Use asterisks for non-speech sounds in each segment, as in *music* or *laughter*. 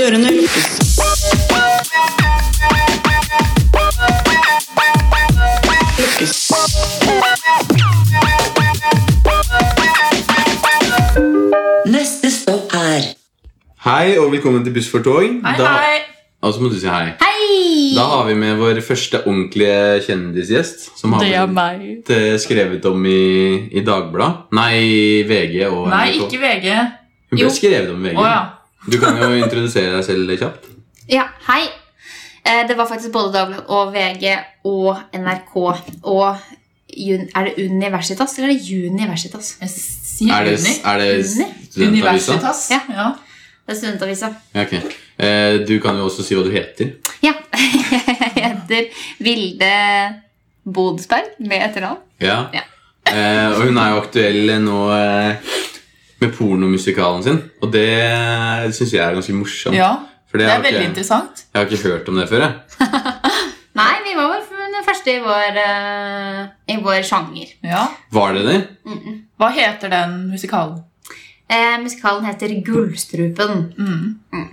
Ørene lukkes. Lukkes. Neste stopp er Hei og velkommen til Buss for tog. Hei, da, hei. Og så må du si hei. Hei! Da har vi med vår første ordentlige kjendisgjest. Som har Det er blitt meg. eh, skrevet om i, i Dagbladet. Nei, VG og Nei, NRK. ikke VG. Hun ble Jo. skrevet om i VG. Å ja. Du kan jo introdusere deg selv *laughs* kjapt. Ja, hei. Eh, Det var faktisk både Dagbladet og VG og NRK og Jun- Er det Universitas eller er det Universitas? Jeg sier Er det, Uni. er det Uni? studentavisa? Universitas. Ja. Ja. Det er Studentavisa. Ja, ok. Eh, Du kan jo også si hva du heter. Ja. *laughs* Jeg heter Vilde Bodsberg med etternavn. Ja. Ja. Eh, og hun er jo aktuell nå eh, med pornomusikalen sin, og det syns jeg er ganske morsomt. ja. For Det har er veldig ikke- interessant. Jeg har ikke hørt om det før. jeg Nei, vi var vel den første i vår, eh, i vår sjanger. Ja. Var det det? Mm -mm. Hva heter den musikalen? Eh, musikalen heter Gullstrupen. Mm.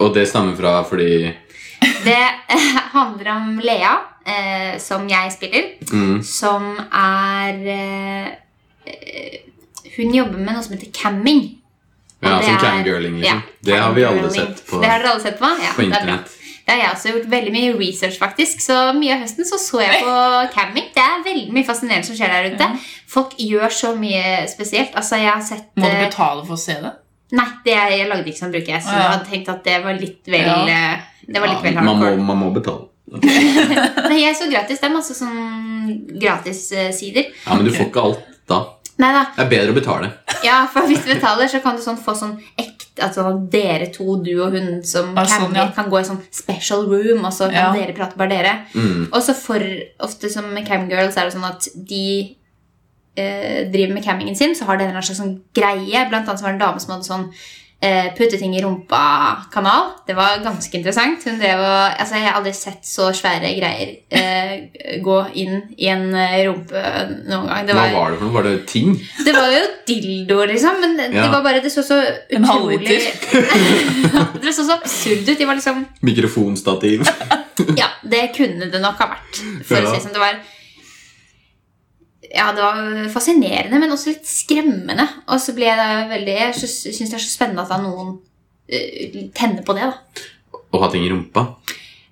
Og det stammer fra fordi Det *laughs* eh, handler om Lea, eh, som jeg spiller. mm, som er eh, eh, Hun jobber med noe som heter camming. Og Ja, det som er- camgirling, liksom. ja, det har vi alle camgirling. sett på, Det har dere alle sett på? Ja, på det er bra. internett. Det har jeg også gjort veldig mye research, faktisk. Så mye av høsten så, så jeg på camming. Det er veldig mye fascinerende som skjer der ute. Mm. Folk gjør så mye spesielt. Altså, jeg har sett Må du eh, betale for å se det? Nei, det jeg, jeg lagde ikke sånn bruker jeg, så Å, ja. jeg hadde tenkt at det var litt vel Ja. eh, Det var litt vel man, må, hardcore. man må betale. Nei, jeg så gratis. Det er masse sånn gratis-sider. Ja, Men du Ok. får ikke alt da. Nei da, Det er bedre å betale. Ja, for hvis du betaler, så kan du sånn få sånn ekte altså, Dere to, du og hun som Ah, sånn, cammer, ja. kan gå i sånn special room, og så Ja. kan dere prate bare dere. Mm. Og så for ofte som med camgirls er det sånn at de eh, driver med cammingen sin, så har de en eller annen slags sånn greie. Blant annet så var det en dame som hadde sånn eh, putte ting i rumpa-kanal. Det var ganske interessant. Hun drev og Altså, jeg har aldri sett så svære greier eh, gå inn i en eh, rumpe noen gang. Det Hva var var det for noe? Var det ting? det var jo dildoer, liksom, men det- Ja. det var bare det så så En utrolig halvliter. *laughs* Det så så absurd ut. De var liksom Mikrofonstativ? Ja, det kunne det nok ha vært. For Ja. å si det sånn. Det var ja, det var fascinerende, men også litt skremmende. Og så ble jeg da veldig Jeg sy- syns det er så spennende at da noen eh, tenner på det. da Og ha ting i rumpa?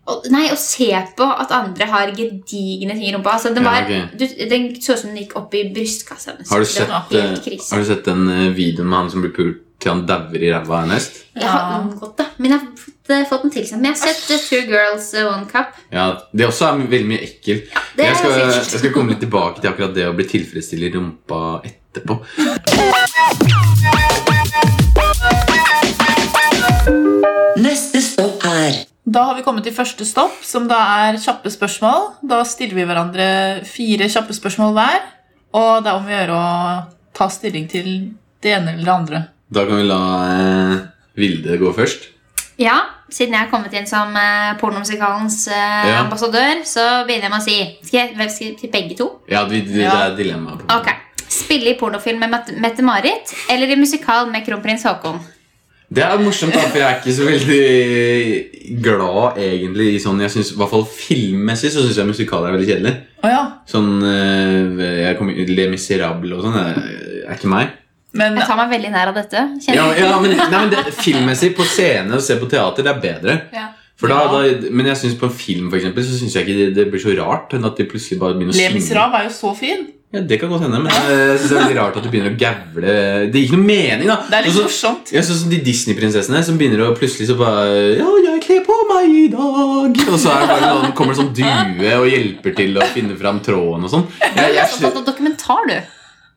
og, Nei, å se på at andre har gedigne ting i rumpa. Altså, den, Ja, var, ok. du, den så ut som den gikk opp i brystkassa hennes. Har du Det sett, var eh, helt krise. har du sett den eh, videoen med han som blir pult til han dauer i ræva av en hest? Jeg har Ja. unngått det, men jeg har fått, eh, fått den tilsendt. Men jeg har sett eh, Two Girls eh, One Cup. Ja, Det også er veldig mye ekkelt. det jeg, skal, er sikkert. jeg skal komme litt tilbake til akkurat det å bli tilfredsstilt i rumpa etterpå. Neste stopp er Da har vi kommet til første stopp, som da er kjappe spørsmål. Da stiller vi hverandre fire kjappe spørsmål hver, og det er om å gjøre å ta stilling til det ene eller det andre. Da kan vi la eh, Vilde gå først. Ja, Siden jeg har kommet inn som eh, pornomusikalens eh, Ja. ambassadør, så begynner jeg med å si Skal jeg, hvem skal jeg til begge to? Ja, vi, Det Ja. er dilemmaet. på en måte. Ok. Spille i pornofilm med Mette- Mette-Marit eller i musikal med kronprins Haakon? Det er morsomt, da, for jeg er ikke så veldig glad egentlig i sånn jeg synes, I hvert fall filmmessig så syns jeg musikaler er veldig kjedelig. Å ja. Sånn eh, jeg kommer, Le Miserable og sånn er, er ikke meg. Men Jeg tar meg veldig nær av dette. kjenner Ja, jeg. ja, men, nei, men det, Filmmessig på scene og se på teater, det er bedre. Ja. For da, Ja. da, men jeg synes på en film for eksempel, så syns jeg ikke det, det blir så rart enn at de plutselig bare begynner å Le synge. Miserable er jo så fin. Ja, det kan godt hende, men eh, jeg synes det er veldig rart at du begynner å gævle. Det gir ikke noe mening, da. Det er litt Sånn- morsomt. Ja, sånn som de Disney-prinsessene som begynner å plutselig så bare Ja, jeg kler på meg i dag Og så er det bare noen, kommer det sånn due og hjelper til å finne fram tråden og sånn. Jeg, Du jeg, er opptatt av dokumentar, du. slu-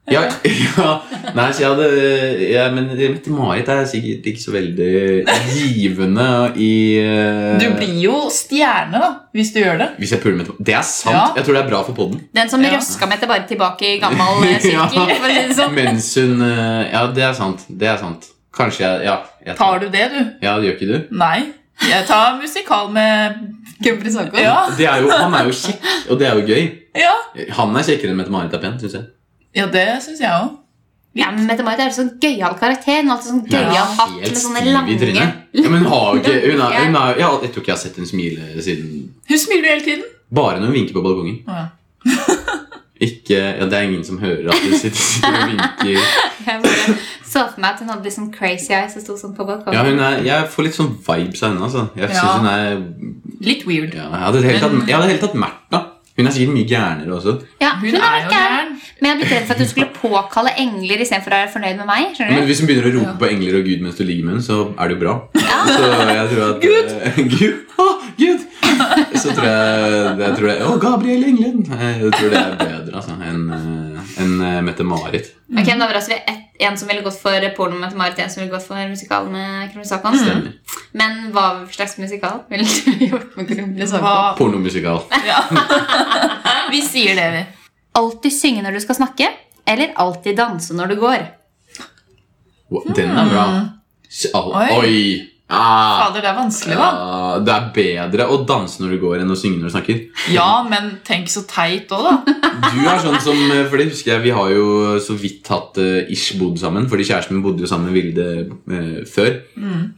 ja, ja, nei, så jeg hadde ja, Men Mette-Marit er sikkert ikke så veldig givende i eh, Du blir jo stjerne da, hvis du gjør det. Hvis jeg puler Mette-Marit. Det er sant. Ja. Jeg tror det er bra for poden. Den som Ja. røska Mette bare tilbake i gammel eh, *laughs* sirkel. for å si det sånn. Mens hun eh, Ja, det er sant. Det er sant. Kanskje jeg Ja, jeg Tar du det, du? Ja, det gjør ikke du? Nei. Jeg tar musikal med Kronprins Haakon. Ja. Det er jo, han er jo kjekk, og det er jo gøy. Ja, Han er kjekkere enn Mette-Marit er pen, syns jeg. ja det syns jeg òg. Ja, men Mette-Marit er jo sånn gøyal karakter. Hun har alltid sånn gøyal Ja, hatt med Helt sånne stiv i lange *laughs* trynet. Ja, men hun har jo ikke hun har, hun har, ja, Jeg tror ikke jeg har sett henne smile siden Hun smiler jo hele tiden. Bare når hun vinker på balkongen. Å, ja. *laughs* Ikke, ja, Det er ingen som hører at hun sitter, *laughs* sitter og vinker. Jeg bare så for meg at hun hadde litt sånn crazy eyes og sto sånn på balkongen. Ja, hun er, Jeg får litt sånn vibes av henne. altså Jeg synes Ja. hun er Litt weird. ja, Jeg hadde helt tatt, jeg hadde helt tatt Märtha. Hun er sikkert mye gærnere også. Ja, Hun er jo gæren. gæren. Men jeg ble redd for at hun skulle påkalle engler istedenfor å være fornøyd med meg. Men skjønner du? hvis hun begynner å rope på engler og Gud mens du ligger med henne, så er det jo bra. Så jeg tror at eh, *laughs* Gud! Gud! Å, Gud! Så tror jeg, jeg tror det Å, Gabriel Englen! Jeg tror det er bedre altså, enn eh, enn, eh, Mette-Marit. Ok, men da var det altså et, En som ville gått for porno med Marit, en som ville gått for musikal med Kronus Hakan. Mm. Stemmer. Mm. Men hva slags musikal ville du *laughs* gjort med Kronus Hakan? Hva? Pornomusikal. Ja. Vi sier det, vi. Alltid synge når du skal snakke, eller alltid danse når du går. Wow, Den er bra. S- Al Mm. Oi. Oi! Ah, Fader, det er vanskelig, da. ja, det er bedre å danse når du går, enn å synge når du snakker. Ja, men tenk så teit òg, da. Du er sånn som, for det husker jeg Vi har jo så vidt hatt eh, ish bodd sammen Fordi kjæresten min bodde jo sammen med Vilde eh, før Mm.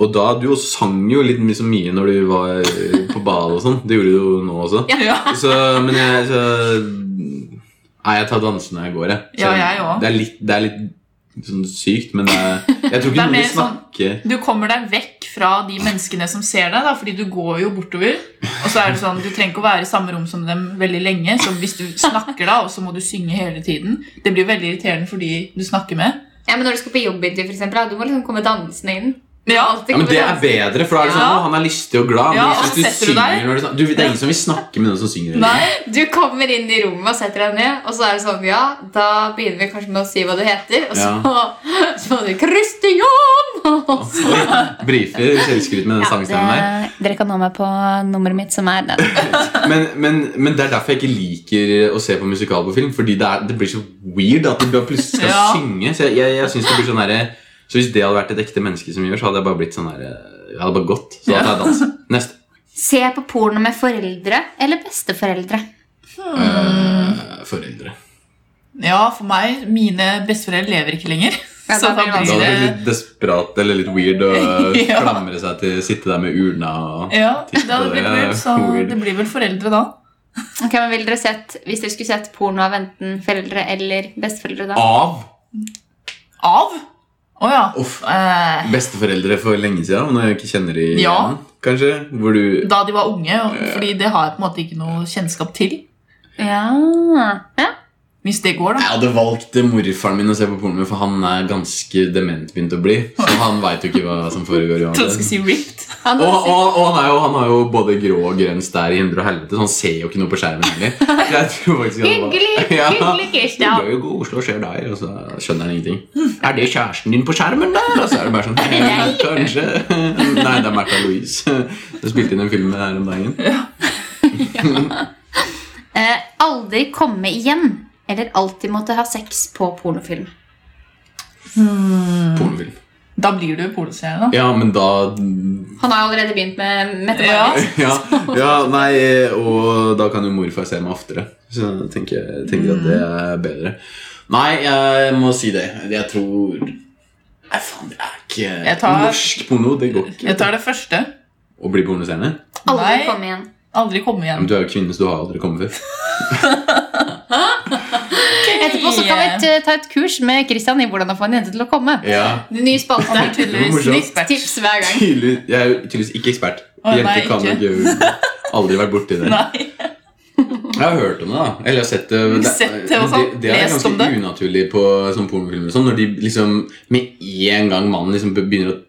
Og da, du også sang jo litt mye, så mye Når du var eh, på bad og sånn Det gjorde du jo nå også Ja. Så, men jeg så, Nei, jeg tar dansen når jeg går jeg. Så Ja, jeg også. Det er litt, det er litt sånn sykt Men det er, jeg tror *laughs* Det er ikke noen mer sånn- vil snakke Du kommer deg vekk fra de menneskene som ser deg, da, fordi du går jo bortover. Og så er det sånn, Du trenger ikke å være i samme rom som dem veldig lenge. Så hvis du snakker, da, og så må du synge hele tiden Det blir veldig irriterende for de du snakker med. Ja, men Når du skal på jobbintervju, for eksempel, da, du må liksom komme dansende inn. Men ja, Alltid ja, men komme det er dansende. bedre, for da er det sånn Ja. «Å, Han er listig og glad men Ja, hvis og du setter du synger deg? når du, snak- du, Det er ingen som vil snakke med noen som synger eller? Nei, Du kommer inn i rommet og setter deg ned, og så er det sånn Ja, da begynner vi kanskje med å si hva du heter, og så, *laughs* så må du Christian! *laughs* Og så- Brifer selvskryt med den sangstemmen der. det- Eh, Dere kan nå meg på nummeret mitt, som er den. Men, men, men det er derfor jeg ikke liker å se på musikal på film. Fordi det, er, det blir så weird at du bare plutselig skal Ja. synge. Så jeg, jeg, jeg synes det blir sånn derre- Så hvis det hadde vært et ekte menneske som gjør, så hadde jeg bare blitt sånn derre Jeg hadde bare gått. Så da tar jeg dans. Neste. Se på porno med foreldre eller besteforeldre. Eh, foreldre. ja, for meg Mine besteforeldre lever ikke lenger. Ja, Så da blir det da Da blir hadde det det blitt litt desperat eller litt weird å *laughs* Ja. klamre seg til sitte der med urna og Ja, det hadde blitt weird, så *laughs* Weird. det blir vel foreldre da. Ok, men ville dere sett, Hvis dere skulle sett porno av enten foreldre eller besteforeldre da? Av Av? Å ja. Uff. Eh, besteforeldre for lenge siden, når jeg ikke kjenner de Ja. igjen, kanskje. Hvor du da de var unge, og- fordi det har jeg på en måte ikke noe kjennskap til. Ja. ja. Hvis det går, da. Jeg hadde valgt morfaren min å se på porno med, for han er ganske dement begynt å bli. Så han veit jo ikke hva som foregår. i *laughs* Jeg trodde du verden. skulle si ripped. Han Og, hadde og, sett- og han, er jo, han har jo både grå og grønn stær i hundre og helvete, så han ser jo ikke noe på skjermen heller. *laughs* Så jeg tror faktisk han bare- Hyggelig! *laughs* Ja. Hyggelig, Du Kristian. bør jo gå Oslo og ser deg, og så skjønner han ingenting. Er det kjæresten din på skjermen der? Og så er det *laughs* bare sånn «Eh, *laughs* Kanskje. Nei, det er Märtha Louise. *laughs* Du spilte inn en film med det her om dagen. Eh, aldri komme igjen eller alltid måtte ha sex på pornofilm. Pornofilm. Da blir du polostjerne, da. Ja, men da Han har jo allerede begynt med Ja. Mette-Marit. *laughs* ja, ja, nei, og da kan jo morfar se meg oftere. Så jeg tenker, jeg tenker at det Mm. er bedre. Nei, jeg må si det. Jeg tror Nei, faen, det er ikke Jeg tar- Norsk porno, det går ikke. Jeg tar det første. Å bli pornostjerne? Aldri Nei. komme igjen. Aldri komme Ja, Men igjen. du er jo kvinne, så du har aldri kommet *laughs* før. Etterpå så kan vi t- ta et kurs med Kristian i hvordan å få en jente til å komme. Ja, Den nye spalten er tydeligvis nytt ekspert. tips hver gang. tydelig, Jeg er jo tydeligvis ikke ekspert. Å, nei, Jenter kan ikke. jo ikke Aldri vært borti det. *laughs* Nei. Jeg har hørt om det, da. Eller jeg har sett det. men Sett det og men sånn. det, det er Lest om ganske det. unaturlig på sånn pornofilmer. og Sånn, når de liksom med en gang mannen liksom begynner å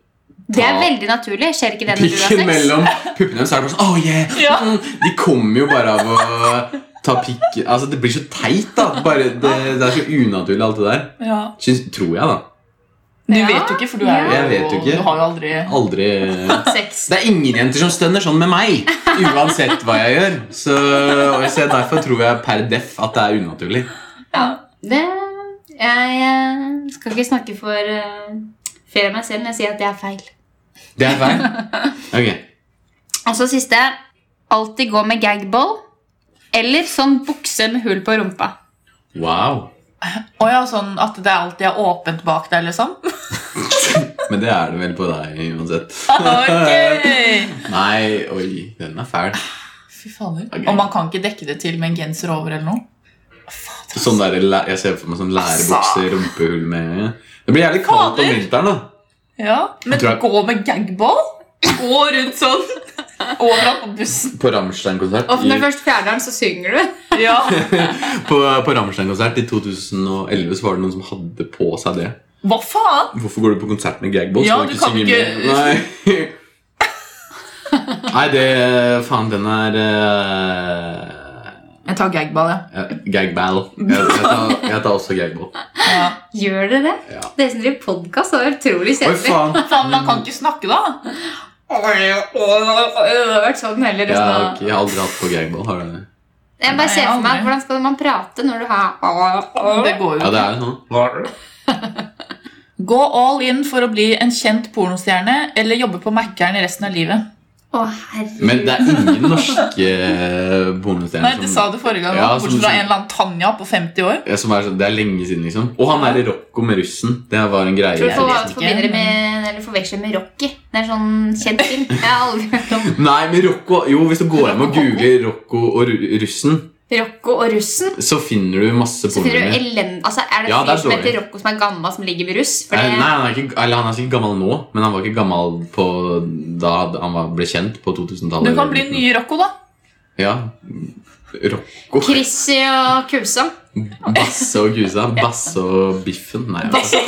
Det er Ta veldig naturlig. Skjer ikke det når du har Pikken sex? mellom puppene hennes, så er det bare sånn Oh yeah! Ja. Mm. De kommer jo bare av å ta pikk Altså, det blir så teit, da. Bare, det, det er så unaturlig, alt det der. Ja. Syns, tror jeg, da. Du Ja. vet jo ikke, for du er jo Jeg vet jo ikke. Du har jo aldri Aldri Sex. Det er ingen jenter som stønner sånn med meg! Uansett hva jeg gjør. Så, og så derfor tror jeg per deff at det er unaturlig. Ja, det Jeg eh, skal ikke snakke for eh, flere enn meg selv, men jeg sier at det er feil. Det er feil. Ok. Og så siste. Alltid gå med gagball eller sånn bukse med hull på rumpa. Wow. *laughs* Å ja, sånn at det alltid er åpent bak deg, *laughs* liksom? Men det er det vel på deg uansett. Ok! Nei, oi, den er fæl. Fy fader. Ok. Og man kan ikke dekke det til med en genser over eller noe? Fader, Sånn der, læ- jeg ser for meg sånn lærebukse, rumpehull med Det blir jævlig kaldt om Fader! vinteren, da. Ja, Men Jeg tror jeg- gå med gagball? Gå rundt sånn overalt på bussen? På Rammstein-konsert Og når du i, først fjerner den, så synger du. Ja. på, på Rammstein-konsert i 2011 så var det noen som hadde på seg det. Hva faen? Hvorfor går du på konsert med gagballs? Ja, Skal du kan synge ikke- med? Nei. *laughs* Nei, det Faen, den er eh, Jeg tar gagball, ja. ja, Gagball. Jeg, jeg, tar, jeg tar også gagball. ja. Gjør dere det? Ja. Dere som driver podkast, er utrolig Oi, kjedelig. *laughs* faen! Faen, man kan ikke snakke, da. Det har vært sånn hele Jeg, resten har av ikke- jeg har aldri hatt på gagball. Har du det? Jeg bare Nei, ser for meg aldri. hvordan skal man prate når du har Det går jo Ja, det ikke. er jo sånn. Gå all in for å bli en kjent pornostjerne eller jobbe på Mækkern resten av livet. Å, herregud. Men det er ingen norske Nei, pornostjerner det sa som, du forrige gang, Ja, også, som- bortsett fra en eller annen Tanja på 50 år. ja, som er sånn Det er lenge siden, liksom. Og han er i Rocco med russen. Det var en greie. Tror du Jeg vet folk ikke, forbinder det med, eller forveksler med Rocky? Det er en sånn kjent film. Jeg har aldri hørt om Nei, men Rocco Jo, hvis du går hjem og googler Rocco og ru- russen, Rocco og russen. så finner du masse Så finner du pornofilmer. elend... Altså, er det en Ja, det er fyr som dårlig. heter Rocco som er gammel, som ligger med russ? For Eh, Nei, det- han er, ikke, eller han er sikkert gammel nå, men han var ikke gammel på da han var, ble kjent. På 2000-tallet. Du kan bli nye Rocco, da. Ja. Rocco. Chrissy og Kusa. Basse og Gusa. Basse og Biffen. Nei, altså.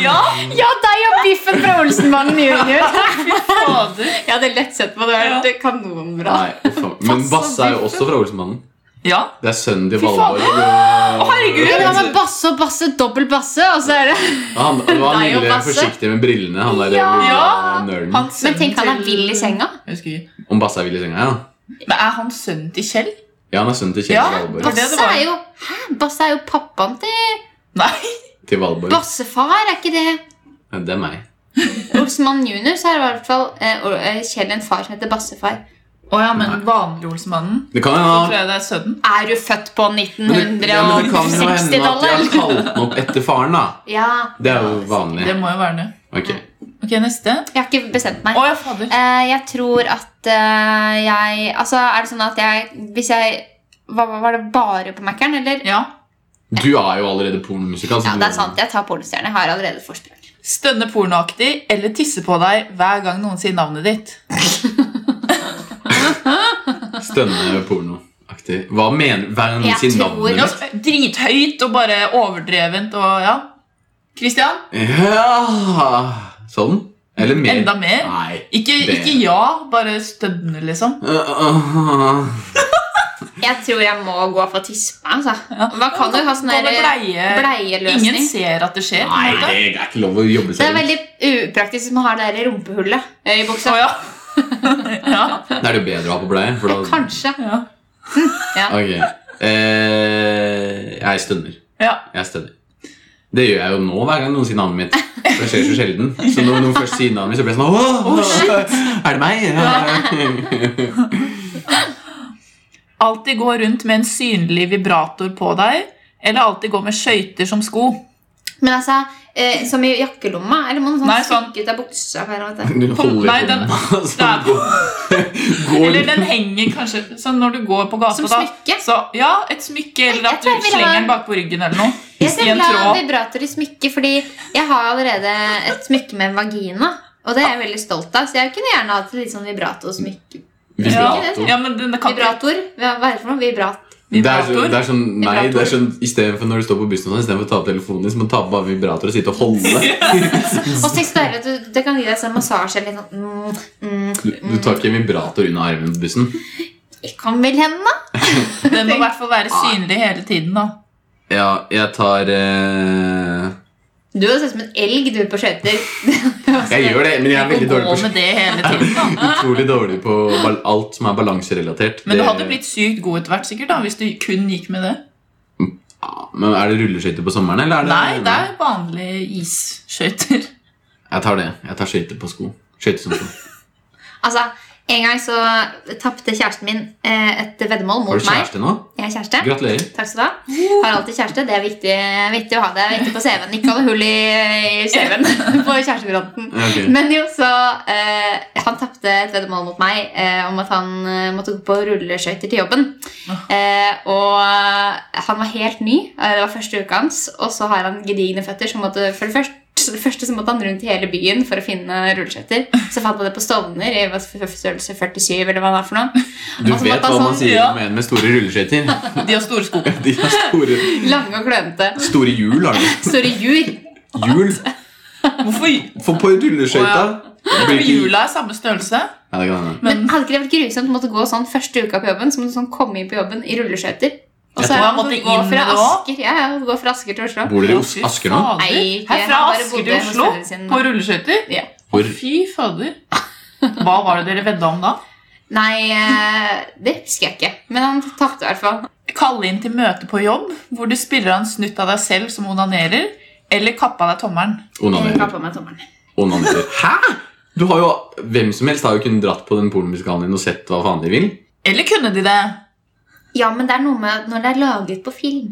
Ja, Ja, deg og biffen fra Olsenmannen junior. fader. *laughs* Jeg hadde lett sett på det. Det er kanonbra. Nei, uff a meg. men Basse og Basse er jo Biffen. også fra Olsenmannen. Ja. Det er sønnen til Fy faen. Valborg. og- herregud, Ja, men basse og basse, dobbel basse, og så er det Han, han var Deg og lille Basse. forsiktig med brillene. Han der Ja. lille nerden. Hans Men sønn tenk, han er til- vill i senga. Jeg husker ikke. Om Basse er vill i senga, ja. Men er han sønnen til Kjell? Ja, han er sønnen til Kjell Ja, Valborg. Basse- det det Basse var. er jo Hæ? Basse er jo pappaen til Nei. Til Valborg. Bassefar, er ikke det? Ja, Det er meg. Olsenmannen junior, så er det i hvert fall eh, og- eh, Kjell en far som heter Bassefar. Å ja, men vanlig Olsmannen. Det kan jo Så ha tror jeg det er sønnen. Er du født på Men det, ja, men det kan jo hende at de har 1960-tallet? kalt den opp etter faren, da. Ja. Det er jo vanlig. Det må jo være det. Ok, Ok, neste. Jeg har ikke bestemt Å meg. ja, fader. Eh, jeg tror at eh, jeg Altså, er det sånn at jeg Hvis jeg hva, hva- Var det bare på Mac-en, eller? Ja. Du er jo allerede altså. pornomusikal. så Ja, du- det er sant. Jeg tar pornostjerne. Jeg har allerede et forsprang. Stønne pornoaktig eller tisse på deg hver gang noen sier navnet ditt. Stønne pornoaktig. Hva mener Hver gang noen Jeg sier tror- navnet Ja, ditt? så drithøyt og bare overdrevent og ja. Christian, Ja Sånn? Eller mer? enda mer. Nei. Øh, Ikke, Det- ikke ja, bare stønne, liksom. øh, Jeg tror jeg må gå for tispe. Altså. Man kan jo ha sånn Gå med der bleie. Ingen bleieløsning. ser at det skjer. på en Nei, måte. det er ikke lov å jobbe Det seg er veldig upraktisk hvis man har det der rumpehullet eh, i buksa. Å, ja. *laughs* ja. Da er det jo bedre å ha på bleie. For da... Kanskje. ja. Ok. Eh, jeg stønner. Ja. Jeg stønner. Det gjør jeg jo nå hver gang noen sier navnet mitt. For det skjer så sjelden. Så når noen først sier navnet mitt, så blir jeg sånn Åh, er det meg? Ja. Alltid gå rundt med en synlig vibrator på deg, eller alltid gå med skøyter som sko. Men altså, eh, som i jakkelomma? Eller må man sånn Nei, sånn. stikke ut av buksa? for å- vet du. Du holder Nei, *laughs* den- hånda *laughs* det er- sånn. Går, går Eller den henger kanskje sånn når du går på gata. Som da, smykke? Så, ja, et smykke, eller Jeg at du tror jeg vil ha slenger en- den bakpå ryggen eller noe. Jeg I skal en la tråd. vibrator i smykke, fordi jeg har allerede et smykke med en vagina. Og det er jeg veldig stolt av, så jeg kunne gjerne hatt et litt sånn vibrator-smykke. Vibrator. Ja, men den kan ikke Vibrator? Hva hva er det for noe? Vibrat. Det er, så, det vibrator. er sånn, nei, det er sånn Istedenfor når du står på bussen, og sånn, i stedet for å ta opp telefonen din, så må du ta på bare vibrator og sitte og holde. Og så deilig at du, det kan gi deg sånn massasje eller noe. Mm, mm. Du, du tar ikke en vibrator under armen på bussen. Det kan vel hende? Den må i hvert fall være synlig hele tiden. da. Ja, jeg tar eh, Du hadde sett ut som en elg du på skøyter. *laughs* Jeg gjør det, men jeg er veldig Ikke dårlig gå på med det hele tiden. da. Utrolig dårlig på bal- alt som er balanserelatert. Men du Det- hadde blitt sykt god etter hvert sikkert da, hvis du kun gikk med det. Ja, Men Er det rulleskøyter på sommeren, eller er det Nei, det er vanlige isskøyter. Jeg tar det. Jeg tar skøyter på sko. Skøyter som sko. Altså, En gang så tapte kjæresten min eh, et veddemål mot Har du meg. kjæreste nå? Jeg er kjæreste. Gratulerer. Takk skal du ha. Har alltid kjæreste. Det er viktig, viktig å ha det. Det er Viktig på CV-en. Ikke alle hull i, i CV-en *laughs* på kjærestefronten. Ja, ok. Men jo, så eh, Han tapte et veddemål mot meg eh, om at han eh, måtte gå på rulleskøyter til jobben. Eh, og han var helt ny. eh, Det var første uka hans. Og så har han gedigne føtter. Så måtte, for det første, det første så måtte han rundt i hele byen for å finne rulleskøyter. Så fant han det på Stovner i hva- størrelse 47, eller hva det er for noe. Du Altså, vet måtte han hva man sånn- sier ja. om en med store rulleskøyter. *laughs* De har store sko. De har store, Lange og klønete. store hjul, har de. Store jur. Hjul. Hvorfor For på rulleskøyta Jeg tror hjula er samme størrelse. Ja, det kan hende. Men hadde ikke det vært grusomt å måtte gå sånn første uka på jobben, så må du sånn komme inn på jobben i rulleskøyter? Og Jeg så tror er han det måtte gå inn fra med det også. Asker, ja, ja, gå fra Asker til Oslo. Bor dere i Å, Os- fy Asker nå? fader. Nei, ikke. Herfra Han bare Asker til bodde hos Oslo foreldrene sine. på rulleskøyter? Ja. Hvor- Fy fader. Hva var det dere vedda om da? Nei, eh, det husker jeg ikke. Men han tapte i hvert fall. Kalle inn til møte på jobb, hvor du spiller av en snutt av deg selv som onanerer, eller kappa deg tommelen. Jeg ga Onanerer. på meg tommelen. Onanerer. Hæ?! Du har jo, hvem som helst har jo kunnet dratt på den pornomusikalen din og sett hva faen de vil. Eller kunne de det? Ja, men det er noe med når det er laget på film.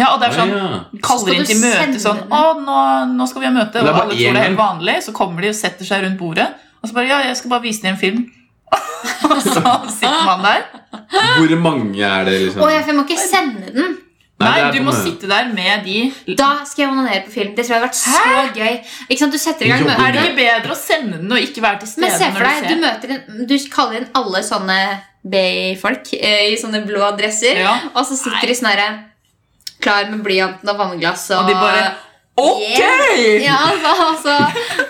Ja, og det er sånn, Ja, ja. Skal Kaller inn du til møte sende sånn den? Å, nå, nå skal vi ha møte, er og bare alle én tror det er helt gang. vanlig. Så kommer de og setter seg rundt bordet, og så bare Ja, jeg skal bare vise deg en film. *laughs* Og så sitter man der. Hvor mange er det, liksom? Å, ja, for jeg må ikke sende den! det Nei, er sånn du på må mø- sitte der med de Da skal jeg onanere på film. Det tror jeg hadde vært så gøy. Ikke sant, Du setter i gang Jobber møtet. Er det ikke bedre å sende den og ikke være til Men se stede for når deg, du du ser? møter en, Du kaller inn alle sånne bay-folk eh, i sånne blå dresser, Ja. og så sitter de sånn her, klar med blyanten og vannglass og, Og de bare Ok! Ja, altså, og så,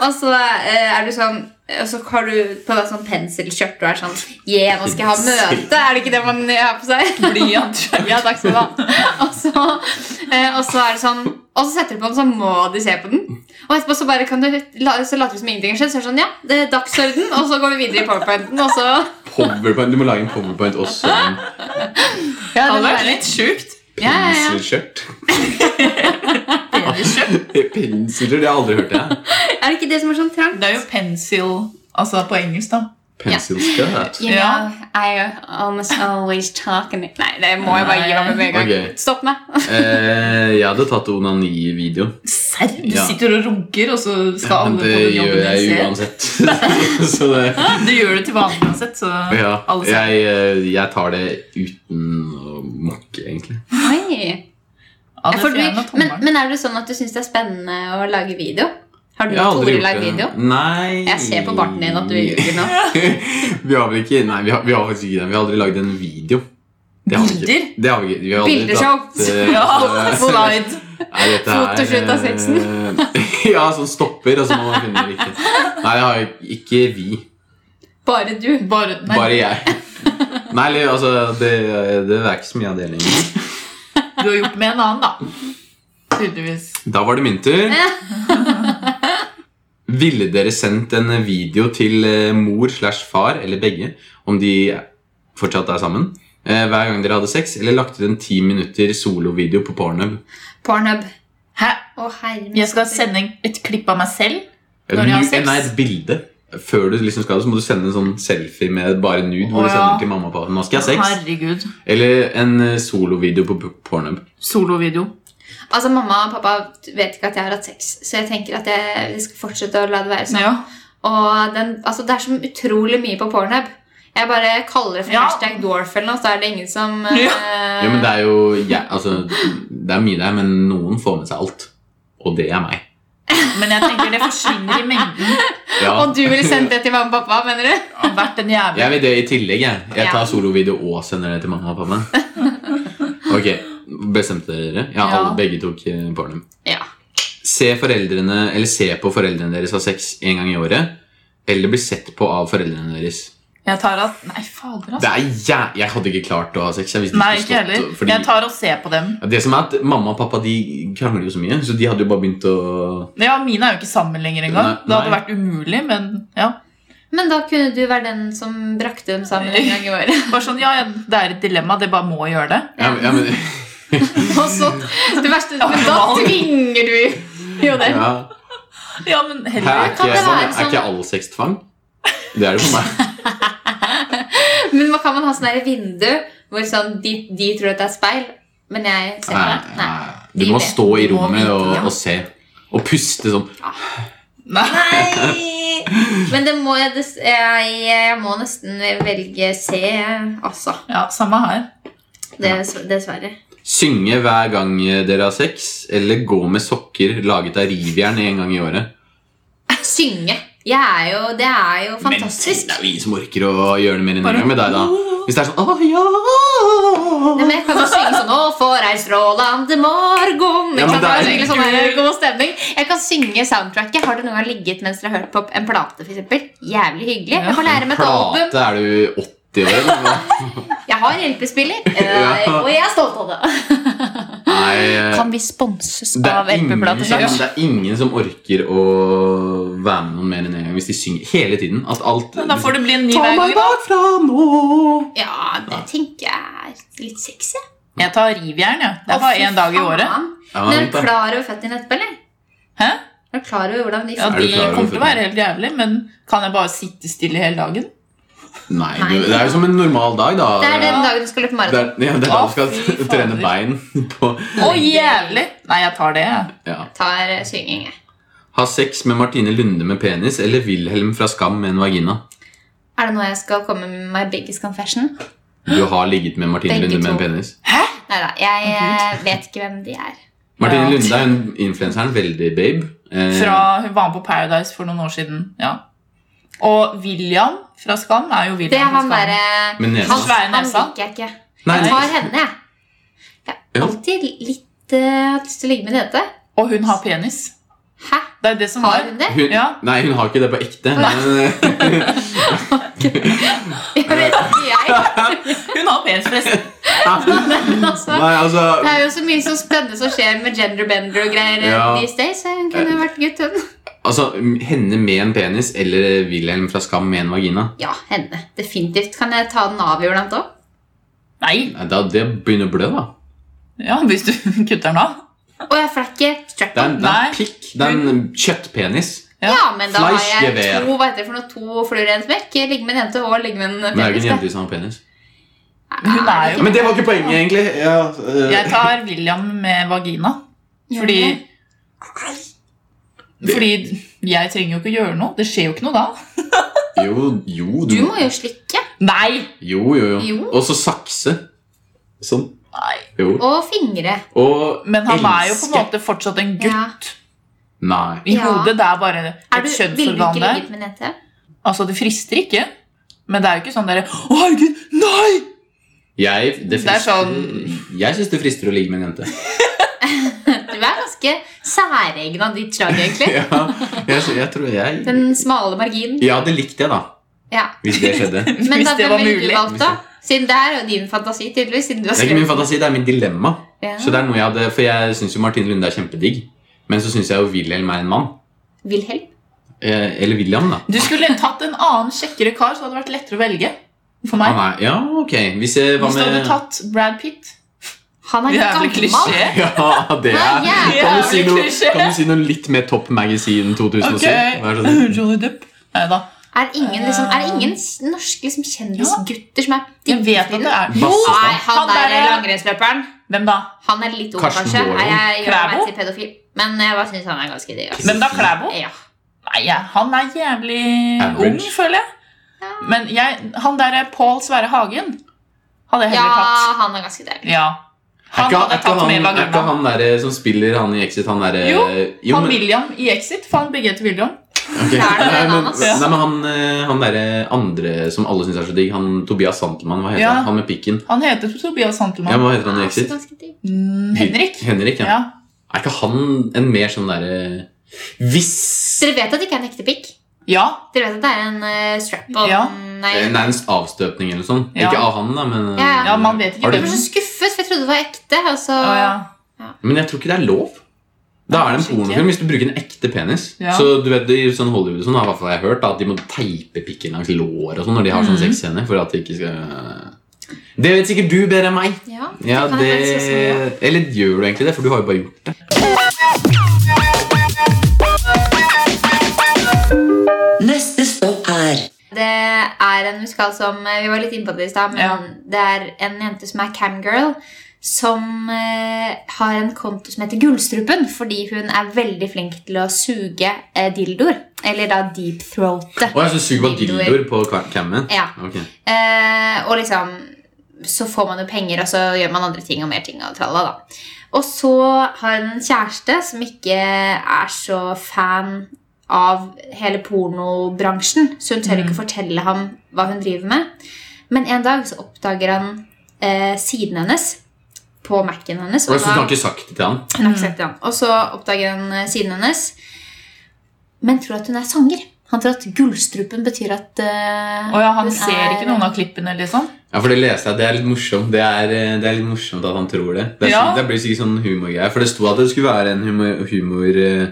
og så eh, er du sånn og så har du på deg sånn penselskjørt og er sånn Yeah, nå skal jeg ha møte! Er det ikke det man har på seg? Blyant. Ja, takk skal du ha. *laughs* Og så, eh, og så er det sånn Og så setter du på den, så må de se på den. Og etterpå så bare kan du la- så later du som ingenting har skjedd. Så er det sånn, ja, det er dagsorden, og så går vi videre i powerpointen, og så Powerpoint. Du må lage en powerpoint også. En Det ja, det må hadde vært være- litt sjukt. Ja, ja, ja. penselskjørt. Peniskjørt. *laughs* Pensler? Det har jeg aldri hørt. jeg. Er det ikke det som er sånn trangt? Det er jo pencil Altså på engelsk, da. Penselskjørt. You Ja. know, I almost always talk and Nei, det må jeg bare gi meg med en gang. Ok. Stopp meg. *laughs* Eh, jeg hadde tatt onani-video. Serr? Du Ja. sitter og runker, og så skal Men alle på det den gjør jobben jeg jo din se? uansett. *laughs* Så det Du gjør det til vanlig uansett, så Ja. alle ser. Jeg, eh, jeg tar det uten å mokke, egentlig. Oi. Ja, det For du, fjerner men, tommelen. men er det sånn at du syns det er spennende å lage video? Har du Jeg har aldri Tore gjort lagd det. video? Nei Jeg ser på barten din at du ljuger nå. *laughs* vi har vel ikke Nei, vi har, vi har faktisk ikke det. Vi har aldri lagd en video. Det har vi ikke. Bilder? Det har vi ikke. Vi har aldri Bildeshow. tatt, eh, *laughs* Ja, slide. Nei, dette er, Fotoshoot av sexen. eh, *laughs* ja, som stopper, og så må man finne det riktige. Nei, det har jeg- ikke vi. Bare du. Bare, nei, Bare jeg. Nei, eller, altså, det, det er ikke så mye av det lenger. du har gjort med en annen, da. Tydeligvis. Da var det min tur. *laughs* Ville dere sendt en video til eh, mor slash far, eller begge, om de fortsatt er sammen, eh, hver gang dere hadde sex, eller lagt ut en ti minutter solovideo på Pornhub? Pornhub. Hæ? Å, herre min Jeg skal skaper. sende et klipp av meg selv? Når de har Nu- sex? Nei, et bilde. Før du liksom skal, så må du sende en sånn selfie med bare nude, hvor Å, du ja. sender til mamma og pappa. Nå skal jeg ha sex. Herregud. Eller en eh, solovideo på p- Pornhub. Solovideo. Altså, Mamma og pappa vet ikke at jeg har hatt sex, så jeg tenker at jeg vi skal fortsette å la det være sånn. Ja. Og den, altså, Det er så utrolig mye på pornhub. Jeg bare kaller det for Ja. hashtag dwarf eller noe, så er det *laughs* ingen som eh, Ja, men det er jo ja, altså, Det er mye der, men noen får med seg alt. Og det er meg. Men jeg tenker det forsvinner i mengden Ja. Og du ville sendt det til mamma og pappa, mener du? av hvert en jævlig Jeg vil det i tillegg. Jeg, jeg Ja. tar solovideo og sender det til mamma og pappa. *laughs* Ok, Bestemte dere? Ja, Ja. alle, begge tok eh, Pornhub. Ja. Se, foreldrene, eller se på foreldrene deres ha sex en gang i året. Eller bli sett på av foreldrene deres. Jeg tar at Nei, fader, Det altså. er jæ... Jeg hadde ikke klart å ha sex. Jeg visste Nei, ikke skulle stått, heller. Fordi... Jeg tar og ser på dem. Det som er at Mamma og pappa de krangler jo så mye, så de hadde jo bare begynt å Ja, Mine er jo ikke sammen lenger engang. Nei, Det hadde nei. vært umulig, men ja. Men da kunne du være den som brakte dem sammen en gang i året. *laughs* *laughs* Bare sånn, ja, ja, Det er et dilemma. Det bare må gjøre det. ja, men- ja, *laughs* men, Og så, det verste, men da tvinger du jo det. ja. Ja, men Her heller er, Kan ikke, sånn- det er være ikke all sex tvang? Det er det for meg. Men man kan man ha sånn der vindu hvor sånn, de, de tror at det er speil, men jeg ser Nei, ikke det. nei. Nei. Du må stå i Du må rommet vite, og, ja. og se. Og puste sånn. Nei. Nei! Men det må jeg, dess- jeg, jeg må nesten velge C, altså. Ja, samme her. Dess, dessverre. Synge hver gang dere har sex, eller gå med sokker laget av rivjern en gang i året. Synge. Jeg er jo, det er jo Men fantastisk. det er jo ingen som orker å gjøre det mer enn en Bare- gang med deg, da. Hvis det er sånn Åh, ja. Nei, men jeg kan jo synge sånn Å, for ei strålande morgen. Ja, men Ikke sant? Det er det er- skikkelig sånn her god stemning. Jeg kan synge soundtracket. Har dere noen gang ligget mens dere har hørt på en plate? For eksempel? Jævlig hyggelig. Jeg får lære meg et album. Plate er du 80 år, eller? hva? Jeg har LP-spiller, eh, Ja. og jeg er stolt av det. Nei, eh, Kan vi sponses det av er, ingen, LP-plater? det er ingen som orker å være med noen mer enn en gang hvis de synger hele tiden. At alt Men da får det bli en ny Ta hver gang. meg da. bakfra nå! Ja, det tenker jeg er litt sexy. Jeg tar rivjern, ja. Det er Å, bare fy én dag i faen. året. Ja, Men er vent du da. klar over føttene etterpå, eller? Hæ? Er du klar over hvordan de Ja, Er De du klar over kommer til det? å være helt jævlig, men kan jeg bare sitte stille hele dagen? Nei, du, det er jo som en normal dag, da. Det er den dagen du skal løpe Det maraton. er, ja, det er da Å, du skal fy fader. trene bein på Å, jævlig! Nei, jeg tar det, jeg. ja. Tar eh, synging. jeg. Ha sex med Martine Lunde med penis eller Wilhelm fra Skam med en vagina. Er det nå jeg skal komme med my biggest confession? Du har ligget med Martine Begge Lunde med en to. penis. Nei da, jeg eh, vet ikke hvem de er. Martine Ja. Lunde er hun influenseren. Veldig babe. Eh, Fra, hun var med på Paradise for noen år siden. ja. Og William fra Skam er jo William Det er han fra Skam. derre Med nesa. Han, Svære han nesa. liker jeg ikke. Nei, Jeg nei. tar henne, jeg. Jeg Ja. har alltid litt eh, hatt lyst til å ligge med dette. Og hun har penis. Hæ? Det er det som Har var. hun det? *laughs* Hun, Ja. Nei, hun har ikke det på ekte. *laughs* Men, eh, Jeg vet ikke, jeg. Hun har penis, forresten. Men altså, nei, altså det er jo så mye så spennende som skjer med genderbender og greier eh, Ja. these days. så Hun kunne jo vært gutt, hun. Altså, Henne med en penis eller Wilhelm fra Skam med en vagina? Ja, henne. Definitivt. Kan jeg ta den av iblant òg? Nei. Nei, da, det begynner å blø, da. Ja, hvis du *laughs* kutter den av. Og jeg flekker strap Det er, on. en- det er Nei. en pikk. Det er en kjøttpenis. Ja. Ja, men da har jeg Fleischgewehr. to, hva heter det for noe, to fluer i en smekk. Ligge med en jente og ligge med en Men det er jo ikke en penis. jente som har penis. da. Hun er jo Men det var ikke poenget, egentlig. Ja, eh, Jeg tar William med vagina. Gjør Fordi du det? Fordi jeg trenger jo ikke gjøre noe. Det skjer jo ikke noe da. jo, jo, Du må jo slikke Nei! Jo, jo, jo. Jo. Og så sakse. Sånn. Nei. Jo. og fingre. Og Men han er jo på en elske. måte fortsatt en gutt. Nei. I Ja. hodet det er bare Er et du, vil du kjønnsorgan ikke der. ligge med en jente? Altså, det frister ikke. Men det er jo ikke sånn derre Å, herregud, nei! Jeg, det Det er frister, sånn- jeg syns det frister å ligge med en *laughs* jente. Du er ganske særegen av ditt slag, egentlig. Ja, jeg, sy- jeg tror jeg Den smale marginen. Ja, det likte jeg, da. Ja. Hvis det skjedde. *laughs* Det Men Hvis da, det hvem var ville du mulig. valgt, da? Siden det er jo din fantasi, tydeligvis. Siden du har er ikke min skrevet fantasi, det er mitt dilemma. Ja. Så det er noe Jeg hadde, for jeg syns jo Martine Lunde er kjempedigg. Men så syns jeg jo Wilhelm er en mann. Wilhelm. Eh, eller William, da. Du skulle tatt en annen kjekkere kar, så hadde det vært lettere å velge. For Han meg. er, ja, ok. Hvis jeg var Hvis du hadde med tatt Brad Pitt Han er Jævlig gammel. klisjé. Ja, det er Jævlig Kan du si noe, klisjé. kan du si noe litt mer Top Magazine 2007? Ok. Vær så snill. *laughs* Johnny Depp. Nei da. Er det ingen, liksom, er det ingen s- norske liksom, kjendisgutter som er Eh. Jeg vet at det er Jo! Nei, Han han der der- langrennsløperen. Hvem da? Han er litt ung, Karsten kanskje. Warholm. Nei, jeg gjør meg Klæbo? til pedofil. Men jeg bare syns han er ganske digg. ass. Hvem da? Klæbo? Ja. Nei, jeg- han er jævlig Average. ung, føler jeg. Men jeg, han der Pål Sverre Hagen hadde jeg ja, heller tatt. han er ganske deilig. Ja. Er Han ikke, hadde er ikke tatt med han, er ikke vagina. han der eh, som spiller han i Exit, han derre Jo, Han men- William i Exit. Faen, begge heter William. ok. det er det, Nei, men, han, altså. ass. nei, men han, eh, han derre andre som alle syns er så digg, han Tobias Santelmann, hva heter Ja. han? Han med pikken. Han heter Tobias Ja, men Santelmann. hva heter han i er også Exit? ganske digg. Mm, Henrik. Henrik, ja. Ja. Er ikke han en mer sånn eh, derre Hvis Dere vet at det ikke er en ekte pikk? ja. Dere vet at det er en eh, strap-on? Ja. Nei. eh, Nei, en avstøpning eller noe sånt. Ja. Ikke av han, da, men eh, Ja, Ja, man vet ikke Har du- Jeg ble så skuffet, for jeg trodde det var ekte. altså. Og så... Å, ja. Men jeg tror ikke det er lov. Da er det en Kanskje ikke. pornofilm hvis du bruker en ekte penis. Ja. Så du vet, I sånn Hollywood og sånn, har i hvert fall jeg hørt da, at de må teipe pikken langs låret og sånn når de har sånn Mm. sexscener. For at de ikke skal Det vet sikkert du bedre enn meg. Ja, det Ja, kan jeg faktisk også gjøre. det... Eller gjør du egentlig det? For du har jo bare gjort det. Neste stopp er Det er en musikal som eh, Vi var litt inne på det i stad, men Ja. det er en jente som er camgirl, som eh, har en konto som heter Gullstrupen, fordi hun er veldig flink til å suge eh, dildoer. Eller da deep throate. Å, jeg er så syk på dildoer på ka- cammen. Ja. Ok. Eh, og liksom så får man jo penger, og så gjør man andre ting og mer ting. Og, tralla, da. og så har hun en kjæreste som ikke er så fan av hele pornobransjen, så hun tør ikke fortelle ham hva hun driver med. Men en dag så oppdager han eh, siden hennes på Mac-en hennes. Og jeg da- synes du har ikke sagt det til han. hun har ikke sett det, han. Og så oppdager han eh, siden hennes, men tror at hun er sanger. Han tror at gullstrupen betyr at eh, Å ja, han hun ser er- ikke noen av klippene, liksom. Ja, for det leste jeg. Det er litt morsomt. Det er, eh, det er litt morsomt at han tror det. Det, er, Ja. så- det blir sikkert sånn humorgreier. For det sto at det skulle være en humor, humor eh,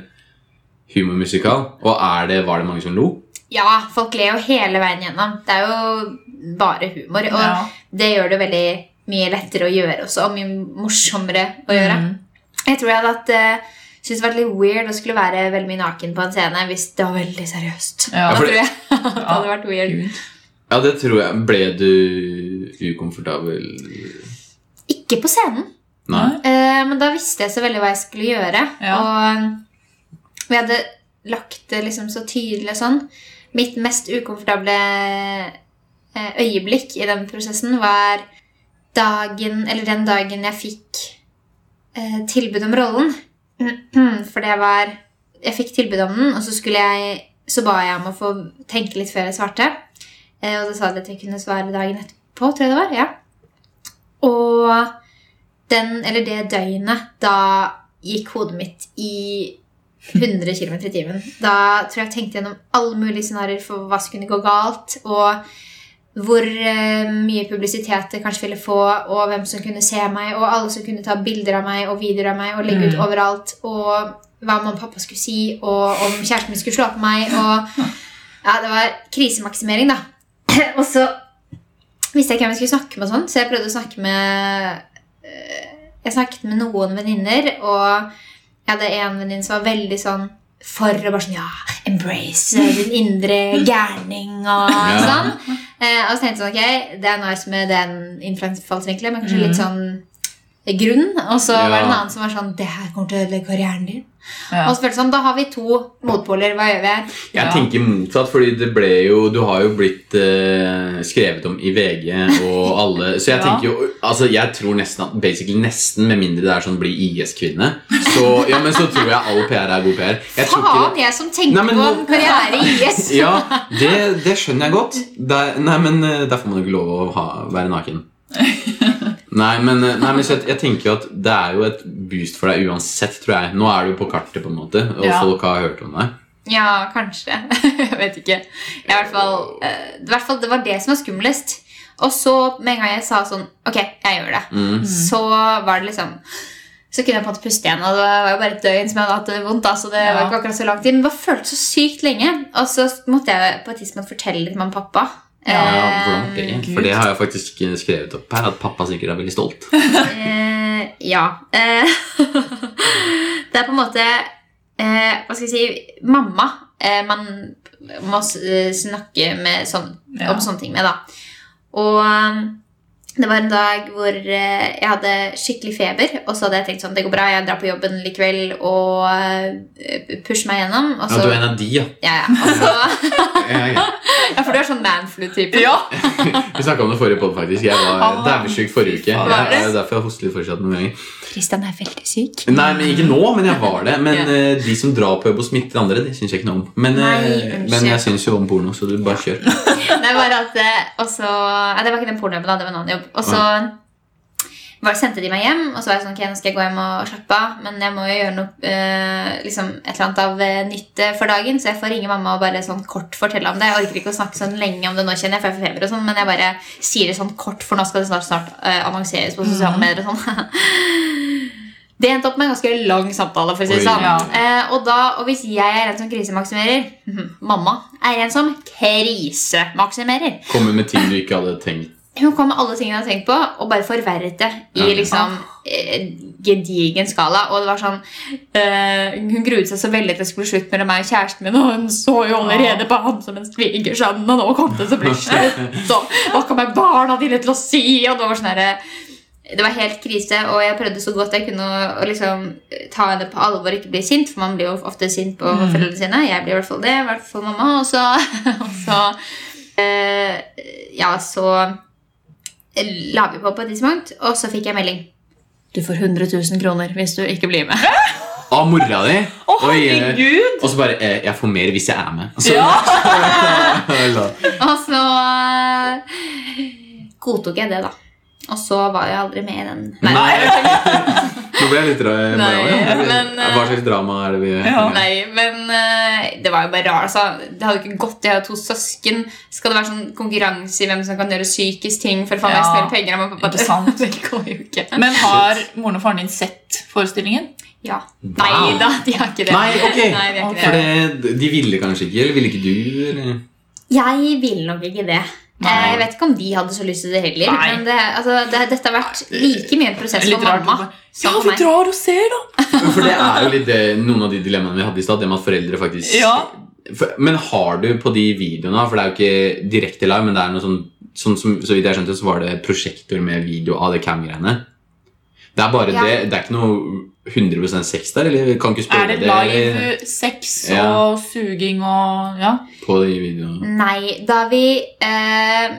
humormusikal. Og er det, var det mange som lo? Ja, folk ler jo hele veien gjennom. Det er jo bare humor. Og Ja. det gjør det veldig mye lettere å gjøre også, og mye morsommere å gjøre. Mm. Jeg tror jeg hadde hatt, eh, syntes det var litt weird å skulle være veldig mye naken på en scene hvis det var veldig seriøst. Ja. Da for det- tror jeg at det hadde vært weird. Gud. Ja, det tror jeg. Ble du ukomfortabel? Ikke på scenen, Nei. eh, men da visste jeg så veldig hva jeg skulle gjøre. Ja. Og vi hadde lagt det liksom så tydelig og sånn. Mitt mest ukomfortable eh, øyeblikk i den prosessen var dagen, eller den dagen jeg fikk eh, tilbud om rollen. *clears throat* For det var Jeg fikk tilbud om den, og så, skulle jeg, så ba jeg om å få tenke litt før jeg svarte. Eh, og da sa de at jeg kunne svare dagen etterpå, tror jeg det var. ja. Og den, eller det døgnet, da gikk hodet mitt i 100 km i timen. Da tror jeg jeg tenkte gjennom alle mulige scenarioer for hva som kunne gå galt, og hvor eh, mye publisitet det kanskje ville få, og hvem som kunne se meg, og alle som kunne ta bilder av meg og videoer av meg og legge ut Mm. overalt, og hva mamma og pappa skulle si, og om kjæresten min skulle slå på meg, og ja, det var krisemaksimering, da. *coughs* og så visste jeg ikke hvem jeg skulle snakke med, og sånn, så jeg prøvde å snakke med eh, Jeg snakket med noen venninner, og jeg hadde en venninne som var veldig sånn for og bare sånn Ja, *laughs* embrace din indre gærning og Ja. sånn. Eh, og så tenkte jeg sånn Ok, det er nice med den innfallsvinkelen, men kanskje litt sånn grunn. Og så var det en Mm. Ja. annen som var sånn Det her kommer til å ødelegge karrieren din. Ja. Og så følte jeg sånn, Da har vi to motpoler. Hva gjør vi her? Jeg Ja. tenker motsatt, fordi det ble jo Du har jo blitt eh, skrevet om i VG og alle Så jeg Ja. tenker jo Altså, jeg tror nesten at Basically nesten, med mindre det er sånn bli IS-kvinne, så Ja, men så tror jeg all PR er god PR. Jeg tror ikke Faen, jeg som tenkte Nei, men på nå- en karriere *laughs* i IS! det- ja, det, det skjønner jeg godt. Der, nei, men eh, Der får man jo ikke lov å ha, være naken. *laughs* Nei, men, eh, nei, men så jeg, jeg tenker jo at det er jo et boost for deg uansett, tror jeg. Nå er du på kartet, på en måte, og Ja. folk har hørt om deg. Ja, kanskje. *laughs* jeg vet ikke. Jeg, i hvert fall, eh, i hvert fall, det var det som var skumlest. Og så, med en gang jeg sa sånn Ok, jeg gjør det. Mm. Så var det liksom Så kunne jeg på en måte puste igjen, og det var jo bare et døgn som jeg hadde hatt det vondt. Da, så det var Ja. ikke akkurat så lang tid, Men det bare føltes så sykt lenge. Og så måtte jeg på et tidspunkt fortelle litt med pappa. Eh, Ja, hvordan var det? Eh, Gud. For det har jeg faktisk ikke skrevet opp her, at pappa sikkert er veldig stolt. Eh, *laughs* ja. Eh, *laughs* det er på en måte eh, Hva skal jeg si Mamma eh, man må s- eh, snakke med sånn, Ja. om sånne ting med, da. Og um, det var en dag hvor eh, jeg hadde skikkelig feber, og så hadde jeg tenkt sånn Det går bra, jeg drar på jobben likevel og eh, pusher meg gjennom. Og Ja, Altså- så, du er en av de, *laughs* ja. ja, ja, og så, Ja, ja. *laughs* ja for du er sånn manflu-type. ja. Vi snakka om det forrige podd, faktisk. Jeg var Han var- dævesjuk forrige uke. Var Jeg, det? det er derfor jeg hoster litt fortsatt noen ganger. Christian er veldig syk. Nei, men Ikke nå, men jeg var det. Men Ja. eh, de som drar på jobb og smitter andre, det syns jeg ikke noe om. Men, eh, Nei, unnskyld. men jeg syns jo om porno, så du bare kjør. Det var at eh, og så, Nei, det var ikke den pornojobben, da. Det var en annen jobb. Og så var, sendte de meg hjem, og så var jeg sånn Ok, nå skal jeg gå hjem og slappe av, men jeg må jo gjøre noe eh, liksom et eller annet av eh, nytt eh, for dagen, så jeg får ringe mamma og bare sånn kort fortelle om det. Jeg orker ikke å snakke sånn lenge om det nå, kjenner jeg, for jeg får feber og sånn, men jeg bare sier det sånn kort, for nå skal det snart, snart eh, annonseres på sosiale medier og sånn. *laughs* Det endte opp med en ganske lang samtale. for å si det Oi. sånn. Ja. Eh, og, da, og hvis jeg er en som krisemaksimerer *laughs* Mamma er en som krisemaksimerer. Komme med ting du ikke hadde tenkt. Hun kom med alle tingene jeg hadde tenkt på, og bare forverret det i Ja. liksom eh, gedigen skala. Og det var sånn eh, Hun gruet seg så veldig til det skulle bli slutt mellom meg og kjæresten min, og hun så jo allerede på han som en svigersønn, og nå kom det til å bli slutt, og hva kommer barna dine til å si? Og det var sånn herre det var helt krise, og jeg prøvde så godt jeg kunne å, å liksom ta det på alvor og ikke bli sint, for man blir jo ofte sint på foreldrene sine. Jeg blir i hvert fall det, i hvert fall mamma. Og så, *laughs* og så eh, Ja, så eh, la vi på på et tidspunkt, og så fikk jeg melding. Du får 100 000 kroner hvis du ikke blir med. Av mora di. Å, Oi, eh, herregud! og så bare eh, Jeg får mer hvis jeg er med. *laughs* Så, Ja. Og så eh, godtok jeg det, da. Og så var jeg aldri med i den. Nei, Nå ble jeg litt dra Nei, bra, ja. men, eh, Hva slags drama er det vi Ja. Nei, men eh, det var jo bare rart. Altså. Det hadde jo ikke gått. Jeg har jo to søsken. Skal det være sånn konkurranse i hvem som kan gjøre psykisk ting for å få Ja, mest mulig penger av mamma og pappa? ikke sant. *laughs* Det går jo ikke. Men har moren og faren din sett forestillingen? Ja. Nei da, de har ikke det. Nei, ok. Nei, de har ikke Ok. For det, de ville kanskje ikke, eller ville ikke du? Eller? det. Jeg vil nok ikke det. Nei. Eh, Jeg vet ikke om de hadde så lyst til det heller. Nei. Men det, altså, det, dette har vært like mye en prosess Litt for rart. mamma. Ja, som for vi meg. drar og ser, da! For det er jo litt det, noen av de dilemmaene vi hadde i stad. Det med at foreldre faktisk Ja. for, Men har du på de videoene, for det er jo ikke direkte live, men det er noe sånn, sånn som, Så vidt jeg skjønte, så var det prosjektor med video av det cam-greiene. Det er bare Ja. det. Det er ikke noe 100 sex der, eller vi kan ikke Er spørre det det, eller, live sex Ja. og suging og Ja. på de videoene. Nei, da vi eh,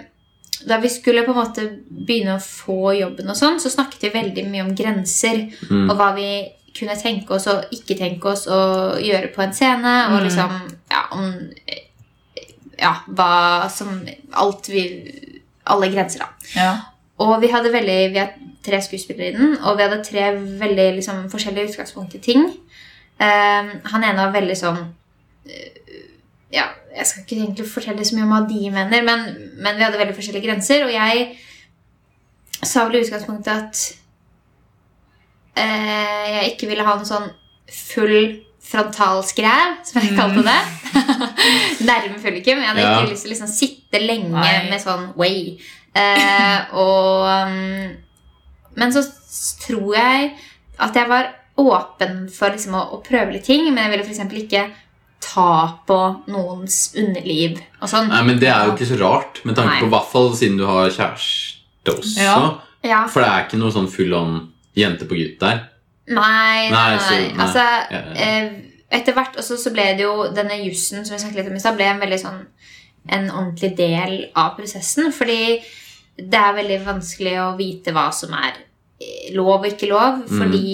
Da vi skulle på en måte begynne å få jobben og sånn, så snakket vi veldig mye om grenser. Mm. Og hva vi kunne tenke oss og ikke tenke oss å gjøre på en scene. Og Mm. liksom Ja, om eh, Ja, hva som Alt vi Alle grenser, da. ja. Og vi hadde veldig, vi har tre skuespillere i den, og vi hadde tre veldig liksom, forskjellige utgangspunkt i ting. Ehm, han ene var veldig sånn eh, Ja, jeg skal ikke egentlig fortelle så mye om hva de mener, men, men vi hadde veldig forskjellige grenser, og jeg sa vel i utgangspunktet at eh, jeg ikke ville ha en sånn full frontalskræv, som jeg kalte det. *laughs* Nærme fyllikum. Jeg hadde Ja. ikke lyst til å liksom sitte lenge Nei. med sånn way. Eh, og um, Men så s- tror jeg at jeg var åpen for liksom å, å prøve litt ting, men jeg ville f.eks. ikke ta på noens underliv og sånn. Nei, men det er jo ikke så rart, med tanke Nei. på hvert fall siden du har kjæreste også. Ja. Ja. For det er ikke noe sånn full on jente på gutt der. Nei, nei, Nei, nei. så- nei. Altså, Ja, ja, ja. eh, etter hvert også så ble det jo denne jussen som vi snakket litt om i stad, ble en veldig sånn en ordentlig del av prosessen. Fordi det er veldig vanskelig å vite hva som er eh, lov og ikke lov. Mm. Fordi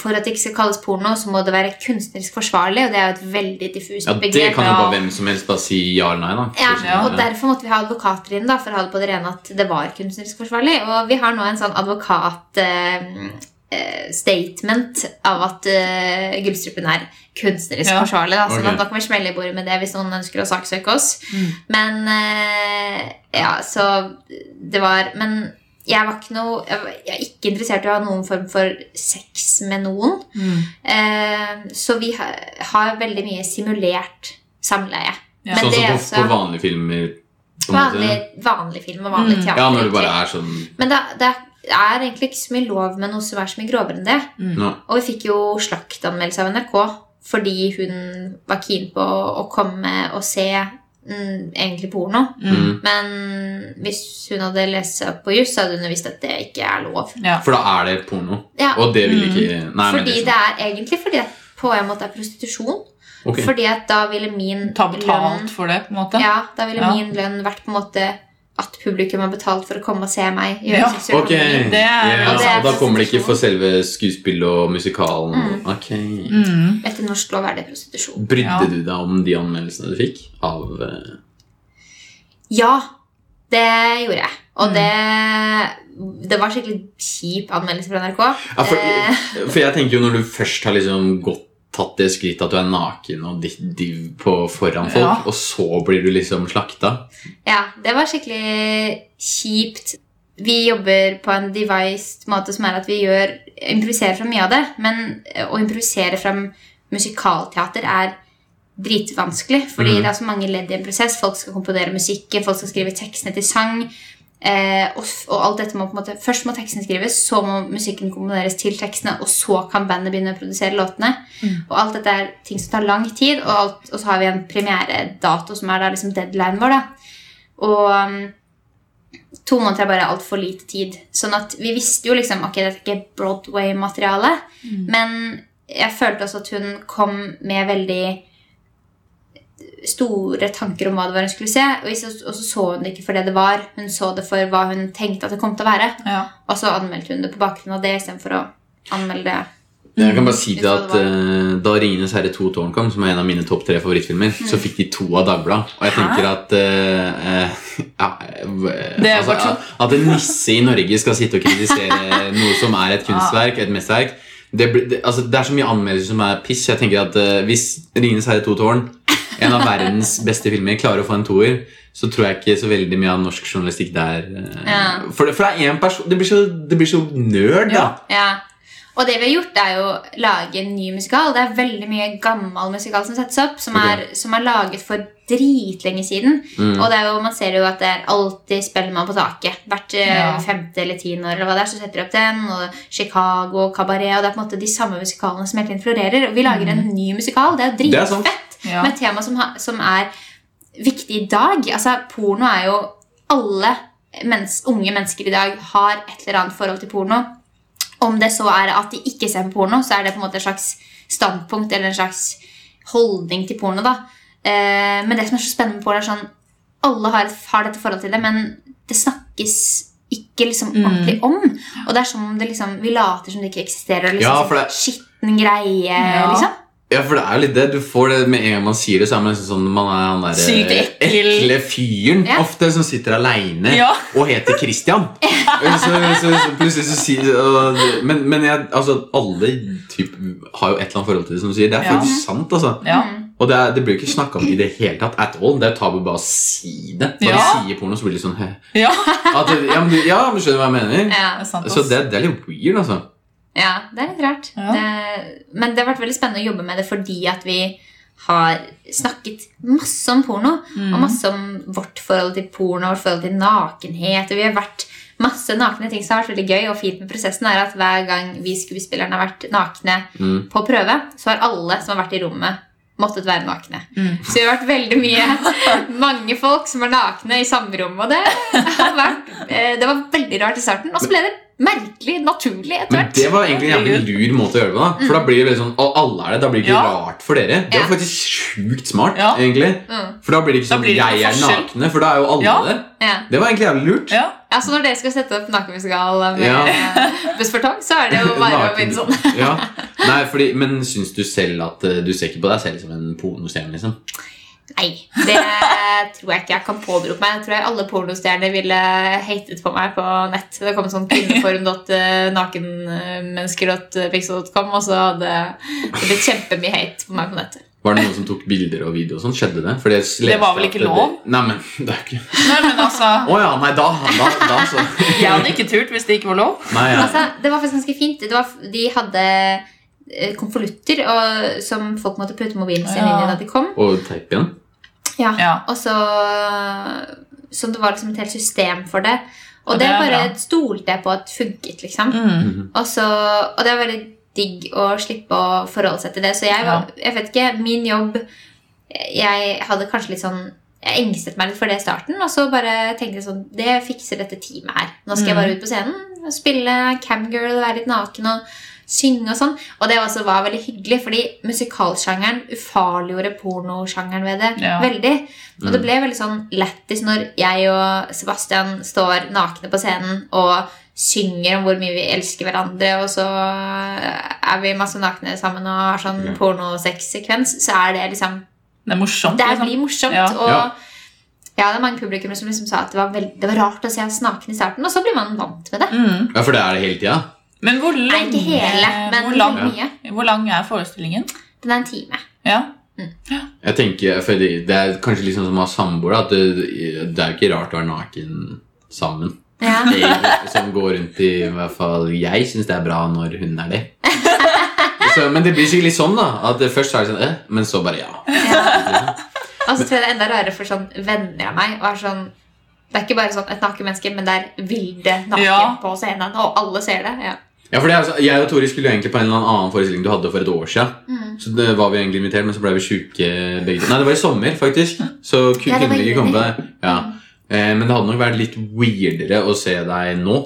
for at det ikke skal kalles porno, så må det være kunstnerisk forsvarlig. Og det er jo et veldig diffust Ja, Det begrep. kan jo ja. bare hvem som helst bare si ja eller nei, da. Ja, og Ja. derfor måtte vi ha advokater inn da, for å ha det på det rene at det var kunstnerisk forsvarlig. Og vi har nå en sånn advokat-statement av at eh, gullstrupen er kunstnerisk Ja. forsvarlig. Da, sånn Ok. at da kan vi smelle i bordet med det hvis noen ønsker å saksøke oss. Mm. Men eh, ja, så det var Men jeg var ikke noe Jeg var- jeg er ikke interessert i å ha noen form for sex med noen. Mm. Eh, så vi har, har veldig mye simulert samleie. Ja. Men Sånn som det er på, også- på vanlige filmer. På en måte. Vanlig, vanlig film og vanlig Mm. teater. Ja, når det bare egentlig. er sånn Men det, det er egentlig ikke så mye lov med noe som er så mye grovere enn det. Mm. nå. Og vi fikk jo slaktanmeldelse av NRK fordi hun var keen på å komme og se mm, egentlig porno. Mm. Mm. Men hvis hun hadde lest seg opp på juss, så hadde hun jo visst at det ikke er lov. ja. For da er det porno. Ja, Og det vil Mm. ikke Nei, men fordi liksom. det er egentlig fordi det på en måte er prostitusjon. Ok. Fordi at da ville min Ta betalt for det, på en måte. Ja, da ville Ja. min lønn vært på en måte at publikum har betalt for å komme og se meg gjøre Ja. seksuell Ok, handling. Det er- ja, Og det er og da kommer det ikke for prostitusjon. selve skuespillet og musikalen. Mm. Ok Mm. Etter norsk lov er det prostitusjon. Brydde Ja. du deg om de anmeldelsene du fikk? Av eh, Ja, det gjorde jeg. Og Mm. det, det var skikkelig kjip anmeldelse fra NRK. ja, for, Eh. for jeg tenker jo når du først har liksom gått tatt det skrittet at du er naken og ditt div på foran folk, Ja. og så blir du liksom slakta. Ja, det var skikkelig kjipt. Vi jobber på en devised måte som er at vi gjør, improviserer fra mye av det. Men eh, å improvisere fra musikalteater er dritvanskelig. Fordi Mhm. det er så mange ledd i en prosess. Folk skal komponere musikken, folk skal skrive tekstene til sang. Eh, og, f- og alt dette må på en måte Først må teksten skrives, så må musikken komponeres til tekstene, og så kan bandet begynne å produsere låtene. Og alt dette er ting som tar lang tid, og, alt, og så har vi en premieredato som er da liksom deadline vår. da Og um, to måneder er bare altfor lite tid. Sånn at vi visste jo liksom Ok, dette er ikke Broadway-materiale, men jeg følte også at hun kom med veldig store tanker om hva det var hun skulle se. Og i så og så så hun det ikke for det det var, hun så det for hva hun tenkte at det kom til å være. Ja. Og så anmeldte hun det på bakgrunn av det istedenfor å anmelde det. Jeg kan bare si det Hvis at det eh, Da 'Ringenes herre 2 Tårn' kom, som er en av mine topp tre favorittfilmer, så fikk de to av Dagbladet. Og jeg tenker at eh, *laughs* eh, ja, eh, Det er altså, bare sånn. at, at en nisse i Norge skal sitte og kritisere noe som er et kunstverk, et mesterverk det, blir- det, altså, det er så mye anmeldelser som er piss. Jeg tenker at eh, Hvis 'Ringenes herre 2 Tårn', en av verdens beste filmer, klarer å få en toer, så tror jeg ikke så veldig mye av norsk journalistikk der eh, Ja. For, det, for det er én person Det blir så, det blir så nerd, da. Ja. Ja. Og det vi har gjort, er jo å lage en ny musikal. Det er veldig mye gammel musikal som settes opp, som, Ok. er, som er laget for dritlenge siden. Mm. Og det er jo, man ser jo at det er alltid Spellemann på taket. Hvert eh, Ja. femte eller tiende år eller hva det er, så setter de opp den. Og Chicago, Cabaret Og det er på en måte de samme musikalene som hele tiden florerer. Og vi lager en ny musikal. Det er jo Det er sant. dritfett. Mm. Ja. Med et tema som, ha, som er viktig i dag. Altså, porno er jo Alle mens, unge mennesker i dag har et eller annet forhold til porno. Om det så er at de ikke ser på porno, så er det på en måte et slags standpunkt eller en slags holdning til porno. da. Eh, men det som er så spennende med porno, er sånn alle har, har dette forholdet til det, men det snakkes ikke liksom Mm. ordentlig om. Og det er som om det liksom, vi later som det ikke eksisterer. og Liksom, Ja, for det- Skitten greie, Ja. liksom. Ja, for det er jo litt det. Du får det med en gang man sier det, så er man nesten sånn man er han der, eh, Sykt ekkel. ekle fyren Ja. ofte som sitter aleine Ja. og heter *laughs* Christian. så, så, så plutselig så sier og, Men, men jeg, altså, alle typ, har jo et eller annet forhold til det, som du sier. Det er Ja. faktisk sant, altså. Ja. Og det, er, det blir jo ikke snakka om i det hele tatt. At all. Det er tabu bare å si det. Når Ja. du sier porno, så blir det litt sånn «Hæ?» Ja. at, det- ja, men du, ja, men du skjønner hva jeg mener? Ja. Det er sant, ass. Så det, det er litt weird, altså. Ja, det er litt rart. Ja. Det, men det har vært veldig spennende å jobbe med det fordi at vi har snakket masse om porno. Mm. Mm. Og masse om vårt forhold til porno, vårt forhold til nakenhet. Og vi har vært masse nakne ting som har vært veldig gøy. Og fint med prosessen er at hver gang vi skuespillerne har vært nakne Mm. på prøve, så har alle som har vært i rommet, måttet være nakne. Mm. Så vi har vært veldig mye *laughs* mange folk som var nakne i samme rom. Og det, har vært, eh, det var veldig rart i starten. Og så ble det merkelig naturlig etter Men hvert. det var egentlig en jævlig lur måte å gjøre det på. da For da blir det veldig sånn «Å, alle er det. Da blir det ikke Mm. Ja. rart for dere. Det Ja. var faktisk sjukt smart, Ja. egentlig. Mm. For da blir det ikke Da sånn blir det ikke jeg er forskjell». nakne, for da er jo alle Ja. det. Ja. Det var egentlig jævlig lurt. ja. Ja, så når dere skal sette opp nakenmusikal med Ja. eh, buss for tog, så er det *laughs* jo bare å Naken- begynne sånn. ja. Nei, fordi, men syns du selv at eh, du ser ikke på deg selv som en pornostjerne? liksom Nei, det tror jeg ikke jeg kan påberope meg. Jeg tror jeg alle pornostjerner ville hatet på meg på nett. Det kom sånn eh, kvinneform.nakenmennesker.pixel.com, og så hadde det blitt kjempemye hate på meg på nettet. Var det noen som tok bilder og video og sånn? Skjedde det? Fordi jeg leste Det var vel at ikke lov? Nei, men *laughs* det er ikke Nei, men altså Å ja, nei, da, da, da så Jeg hadde ikke turt hvis det ikke var lov. Nei, ja. *laughs* Altså, det var faktisk ganske fint. Det var, de hadde eh, konvolutter og- som folk måtte putte mobilen sin inn i da de kom. Og teip igjen? Ja. Ja. Og så Så det var liksom et helt system for det. Ja, Og det, det er bare bra. stolte jeg på at funket, liksom. Mm. Og, så, og det er veldig digg å slippe å forholde seg til det. Så jeg, var, jeg vet ikke, min jobb Jeg hadde kanskje litt sånn jeg engstet meg litt for det i starten, og så bare tenkte jeg sånn Det fikser dette teamet her. Nå skal jeg bare ut på scenen og spille camgirl, være litt naken og synge og sånn. Og det også var veldig hyggelig, fordi musikalsjangeren ufarliggjorde pornosjangeren ved det Ja. Mm. veldig. Og det ble veldig sånn lættis når jeg og Sebastian står nakne på scenen og synger om hvor mye vi elsker hverandre, og så eh, er vi masse nakne sammen og har sånn Ja. pornosexsekvens, så er det liksom Det er morsomt. Det liksom. blir morsomt. Ja. Og Ja. ja, det er mange publikummere som liksom sa at det var, veld, det var rart å se oss nakne i starten, og så blir man vant med det. Mm. Ja, for det er det hele tida? Men hvor Nei, lang, ikke hele, men hvor, lang, veldig mye. hvor lang er forestillingen? Den er en *laughs* time. Ja. Jeg tenker, for det, det er kanskje liksom som å ha samboer, da, at det, det er jo ikke rart å være naken sammen. Ja. Egentlig, *laughs* Som går rundt i, i hvert fall Jeg syns det er bra når hun er det. Så, men det blir sikkert litt sånn, da. At det først er det sånn, eh, men så bare ja. *laughs* Ja. Og så tror jeg det er enda rarere for sånn venner av meg. Og er sånn Det er ikke bare sånn et nakenmenneske, men det er vilde naken Ja. på scenen. Og alle ser det. ja. Ja, for det, er altså, Jeg og Tori skulle jo egentlig på en eller annen annen forestilling du hadde for et år siden. Mm. Så det var vi egentlig invitert, men så ble vi sjuke begge to. Nei, det var i sommer, faktisk. Så ku- Ja, det var kunne vi ikke komme på juni. det. Ja. Eh, men det hadde nok vært litt weirdere å se deg nå.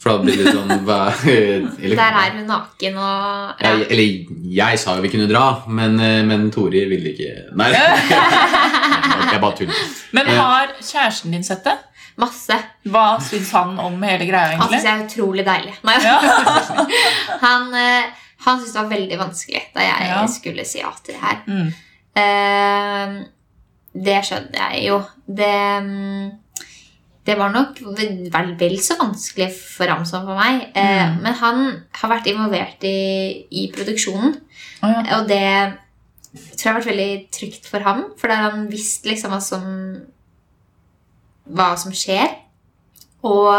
For da blir det sånn hva, eller, *laughs* Der er hun naken og ja. Jeg, eller jeg sa jo vi kunne dra, men, eh, men Tori ville ikke *laughs* Nei. Jeg bare tuller. Men Ja. har kjæresten din sett det? Masse. Hva syns han om hele greia, Han syns egentlig? jeg er utrolig deilig. Nei. Ja. *laughs* Han, eh, han syntes det var veldig vanskelig da jeg Ja. skulle si ja til det her. Mm. Eh, det skjønner jeg jo. Det, mm, det var nok ve- vel, vel så vanskelig for ham som for meg. Eh, Mm. Men han har vært involvert i, i produksjonen, Å ja. og det tror jeg har vært veldig trygt for ham. For da har han visst liksom hva som, hva som skjer. Og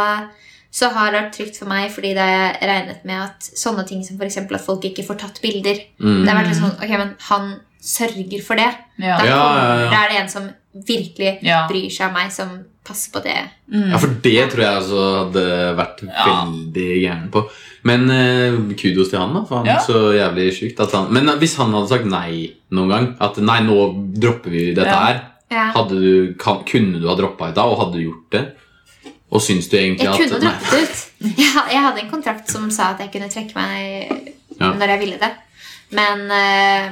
så har det vært trygt for meg fordi det har jeg regnet med at sånne ting som for eksempel at folk ikke får tatt bilder Mm. det har vært litt sånn, ok, men han sørger for det. Ja. Da, Ja, ja, ja. kommer- da er det en som virkelig Ja. bryr seg om meg, som passer på det. Mm. Ja, for det tror jeg altså hadde vært Ja. veldig gæren på. Men eh, kudos til han, da. For han Ja. så jævlig sjukt at han Men eh, hvis han hadde sagt nei noen gang, at nei, nå dropper vi dette Ja. her, hadde du, kan, kunne du ha droppa ut da, og hadde du gjort det? Og syns du egentlig Jeg at kunne nei, droppet ut. Jeg, ha- jeg hadde en kontrakt som sa at jeg kunne trekke meg Ja. når jeg ville det. Men eh,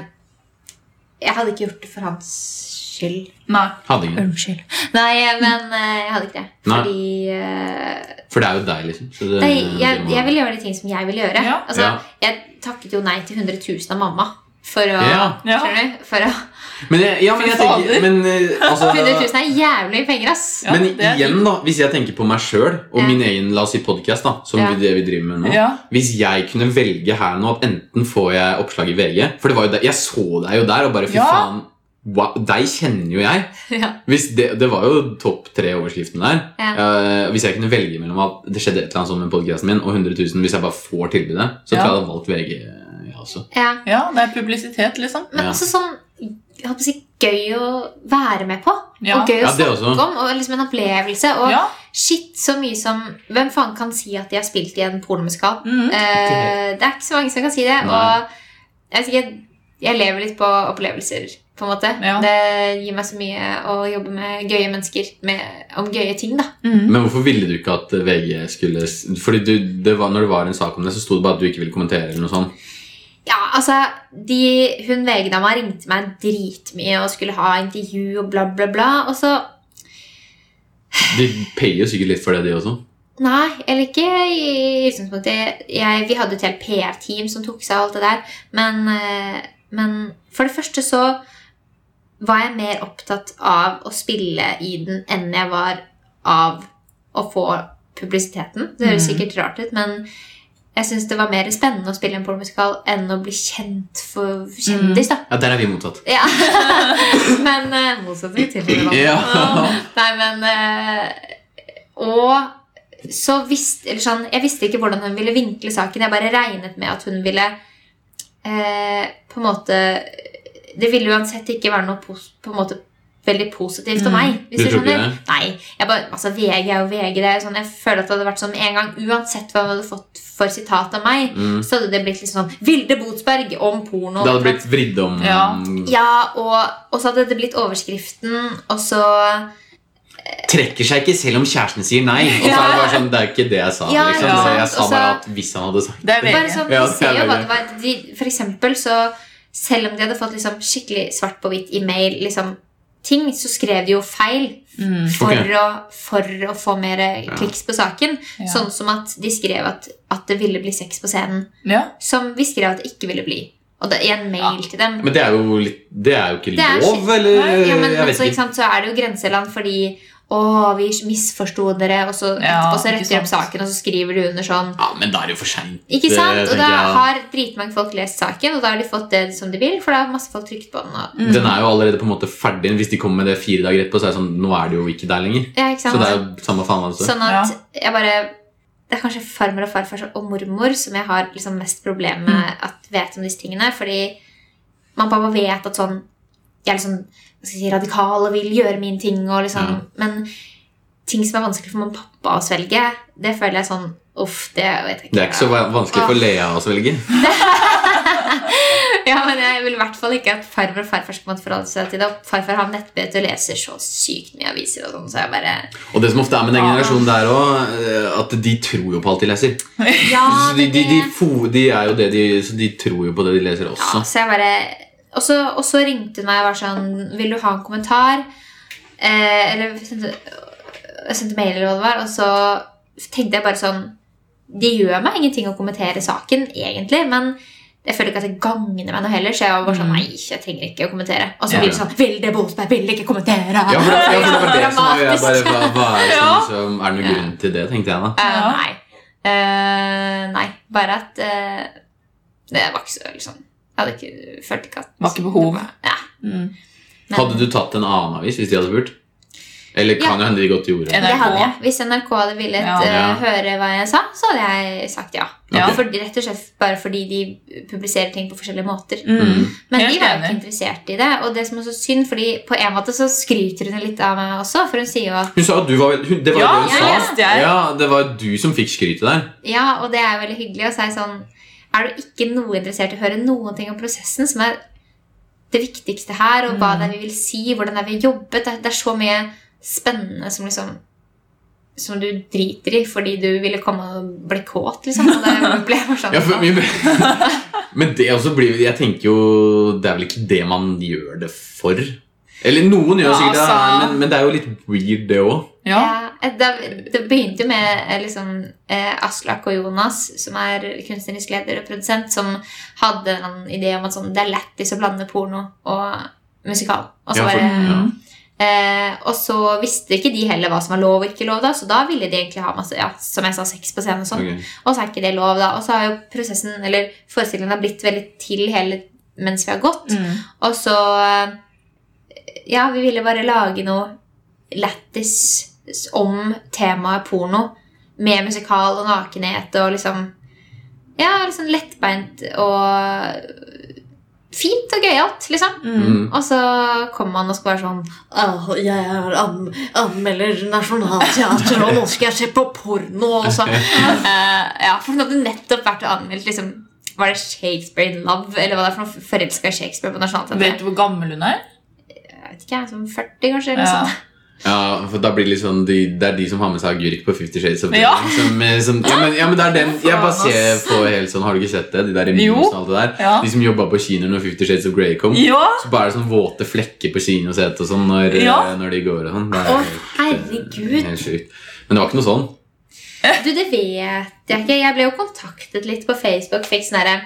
jeg hadde ikke gjort det for hans skyld. Nei. hadde ingen. Unnskyld. Nei, men eh, jeg hadde ikke det. Nei. Fordi eh, For det er jo deg, liksom. Så det, nei, jeg, det må- jeg ville gjøre de ting som jeg ville gjøre. Ja. Altså, Ja. Jeg takket jo nei til 100 000 av mamma for å, Ja. Ja. skjønner du, for å Men, jeg- ja, men, Fy jeg tenker, fader. men eh, altså 100 000 er jævlig penger, ass. Ja, Men det er igjen, da, hvis jeg tenker på meg sjøl og Ja. min egen la oss si podcast da som Ja. det vi driver med nå Ja. Hvis jeg kunne velge her nå at enten får jeg oppslag i VG For det var jo der, jeg så deg jo der, og bare fy Ja. faen wow, Deg kjenner jo jeg. Ja. Hvis det, det var jo topp tre-overskriften der. Eh, hvis jeg kunne velge mellom at det skjedde et eller annet sånt med podcasten min, og 100 000 hvis jeg bare får tilbudet, så tror Ja. jeg jeg hadde valgt VG, jeg også. Ja. Ja, det er publisitet, liksom. Men Ja. også sånn jeg holdt på å si, gøy å være med på. Ja. Og gøy å Ja, det snakke også. om. Og liksom en opplevelse. Og Ja. shit, så mye som Hvem faen kan si at de har spilt i en pornomusikal? Mhm. Eh, det er ikke så mange som kan si det. Nei. Og jeg, vet ikke, jeg lever litt på opplevelser, på en måte. Ja. Det gir meg så mye å jobbe med gøye mennesker med, om gøye ting, da. Mhm. Men hvorfor ville du ikke at VG skulle s- Fordi du, det var, Når det var en sak om det, så sto det bare at du ikke ville kommentere eller noe sånt. Ja, altså, de, hun VG-dama ringte meg dritmye og skulle ha intervju og bla, bla, bla. Og så De payer jo sikkert litt for det, de også. Nei, eller ikke i utgangspunktet. Jeg, vi hadde et helt PR-team som tok seg av alt det der. Men, eh, men for det første så var jeg mer opptatt av å spille i den enn jeg var av å få publisiteten. Det høres Mm. sikkert rart ut, men jeg syns det var mer spennende å spille en pornomusikal enn å bli kjent for kjendis, da. Ja, Der er vi mottatt. Ja. *laughs* men eh, motsetning til det vanlige. Nei, men eh, Og så visste Eller sånn, jeg visste ikke hvordan hun ville vinkle saken. Jeg bare regnet med at hun ville eh, På en måte Det ville uansett ikke være noe pos på en måte veldig positivt om Mm. meg. Hvis Du du tror ikke skjønner? Nei. Jeg bare, altså, VG er jo VG. Det er jo sånn, jeg føler at det hadde vært sånn med en gang. Uansett hva hun hadde fått for sitat av meg, Mm. så hadde det blitt litt sånn Vilde Botsberg om porno. Det hadde blitt vridd om Ja. Ja, og, og så hadde det blitt overskriften, og så Trekker seg ikke selv om kjæresten sier nei. Og så er det bare sånn, det er ikke det jeg sa. Ja, Altså- liksom. ja. Så jeg sa Og så- bare at hvis han hadde sagt Det er Bare VG. sånn, Ja, vi ser det er jo hva veldig. det var de, For eksempel så Selv om de hadde fått liksom skikkelig svart på hvitt i mail liksom, ting, så skrev de jo feil Mm. for, Ok. å, for å få mer kliks på saken. Ja. Sånn som at de skrev at, at det ville bli sex på scenen. Ja. Som vi skrev at det ikke ville bli. Og det, i en mail til dem. Men det er jo, litt, det er jo ikke Det er lov, skitt. eller? ja, jeg men, men vet så, ikke ikke. sant, så er det jo grenseland fordi å, vi misforsto dere, og så, Ja, og så ikke retter de opp sant. saken, og så skriver de under sånn Ja, men da er det jo for seint. Ikke Det sant? Og tenker da jeg. har dritmange folk lest saken, og da har de fått det som de vil, for da har masse folk trykt på den. Og, Den er jo allerede på en måte ferdig. Hvis de kommer med det fire dager etterpå, så er det sånn Nå er det jo ikke der lenger. ja, Så ikke sant? det er jo samme faen, altså. sånn at jeg bare Det er kanskje farmor og farfar og mormor som jeg har liksom mest problemer med at vet om disse tingene, fordi man bare vet at sånn Jeg er liksom hva skal jeg si, radikal og vil gjøre mine ting og liksom Men ting som er vanskelig for mamma og pappa å svelge, det føler jeg sånn Uff, det vet jeg ikke. Det er ikke så va- vanskelig for Lea å svelge. *laughs* Ja, men jeg vil i hvert fall ikke at farmor og farfar skal måtte forholde seg til det. Og farfar har nettbrett og leser så sykt mye aviser og sånn, så jeg bare Og det som ofte er med den Ja. generasjonen der òg, at de tror jo på alt de leser. Ja, Så *laughs* de, Ah, det- de, de, fo, de er jo det de Så de tror jo på det de leser Ja, også. så jeg bare og så, og så ringte hun meg og var sånn Vil du ha en kommentar? Eh, eller sendte, jeg sendte mail eller hva det var. Og så tenkte jeg bare sånn Det gjør meg ingenting å kommentere saken, egentlig. Men jeg føler ikke at det gagner meg noe heller. Så jeg var bare sånn Mm. Nei, jeg trenger ikke å kommentere. Og Ja. så blir det sånn Vilde Bolstberg vil ikke kommentere! Ja, for det, ja, for det var det som var jeg bare, Dramatisk. hva, hva er det Ja. som, som er noen grunn til det, tenkte jeg da. Eh, Ja. Nei. Eh, nei. Bare at eh, Det var ikke så liksom Jeg hadde ikke følt ikke at Var ikke behov. Ja. Mm. men- Hadde du tatt en annen avis hvis de hadde spurt? Eller kan jo hende de godt gjorde det. NRK? Det hadde jeg. Hvis NRK hadde villet Ja. eh, Ja. høre hva jeg sa, så hadde jeg sagt ja. Ja. For, rett og slett bare fordi de publiserer ting på forskjellige måter. Mm. Men Helt de var jo enig. ikke interessert i det. Og det som er så synd, fordi på en måte så skryter hun litt av meg også, for hun sier jo at Hun sa at du var vel- hun, Det var jo Ja, det hun jeg sa. leste jeg. Ja, det var du som fikk skrytet der. ja, og det er jo veldig hyggelig. Og så er jeg sånn Er du ikke noe interessert i å høre noen ting om prosessen, som er det viktigste her, og hva det er vi vil si, hvordan det er vi har jobbet Det, det er så mye spennende som liksom som du driter i fordi du ville komme og bli kåt, liksom. Og det ble jeg bare sånn Ja, for, men, *laughs* men det også blir Jeg tenker jo Det er vel ikke det man gjør det for? Eller noen gjør Ja, sikkert altså. det, men, men det er jo litt weird, det òg. Ja. Ja, det, det begynte jo med eh, liksom, eh, Aslak og Jonas, som er kunstnerisk leder og produsent, som hadde en idé om at sånn, det er lættis å blande porno og musikal. Og så, Ja, for- bare, ja. eh, og så visste ikke de heller hva som var lov og ikke lov, da, så da ville de egentlig ha masse ja, som jeg sa, sex på scenen. Og sånn. Ok. Og så er ikke det lov, da. Og så har jo prosessen, eller forestillingen har blitt veldig til hele mens vi har gått. Mm. Og så eh, Ja, vi ville bare lage noe lættis om temaet porno. Med musikal og nakenhet og liksom Ja, liksom lettbeint og fint og gøyalt, liksom. Mm. Mm. Og så kommer man og skal være sånn Åh, jeg er an anmelder nasjonalteater, og nå skal jeg se på porno. altså. Og så eh, Ja, for hun hadde nettopp vært og anmeldt liksom, Var det Shakespeare in Love? Eller hva det er for noe forelska i Shakespeare på Vet Nationaltheatret? du hvor gammel hun er? Jeg vet ikke, jeg, som 40, kanskje? eller noe Ja. sånt. Ja, for da blir det litt sånn de, Det er de som har med seg agurk på Fifty Shades of Grey. Ja. Som, eh, som, ja, men, ja, men det er den Jeg bare Faen, ser ass. på helt sånn Har du ikke sett det? De der Jo. memes og alt det der Ja. De som jobba på kinoer når Fifty Shades of Grey kom. Ja! Så bare er det sånn våte flekker på kinosetet og sånn når, eh, Ja. når de går og sånn. Det er Å, helt, eh, herregud. Helt sjukt. Men det var ikke noe sånn. Du, det vet jeg ikke. Jeg ble jo kontaktet litt på Facebook. Fikk sånne der,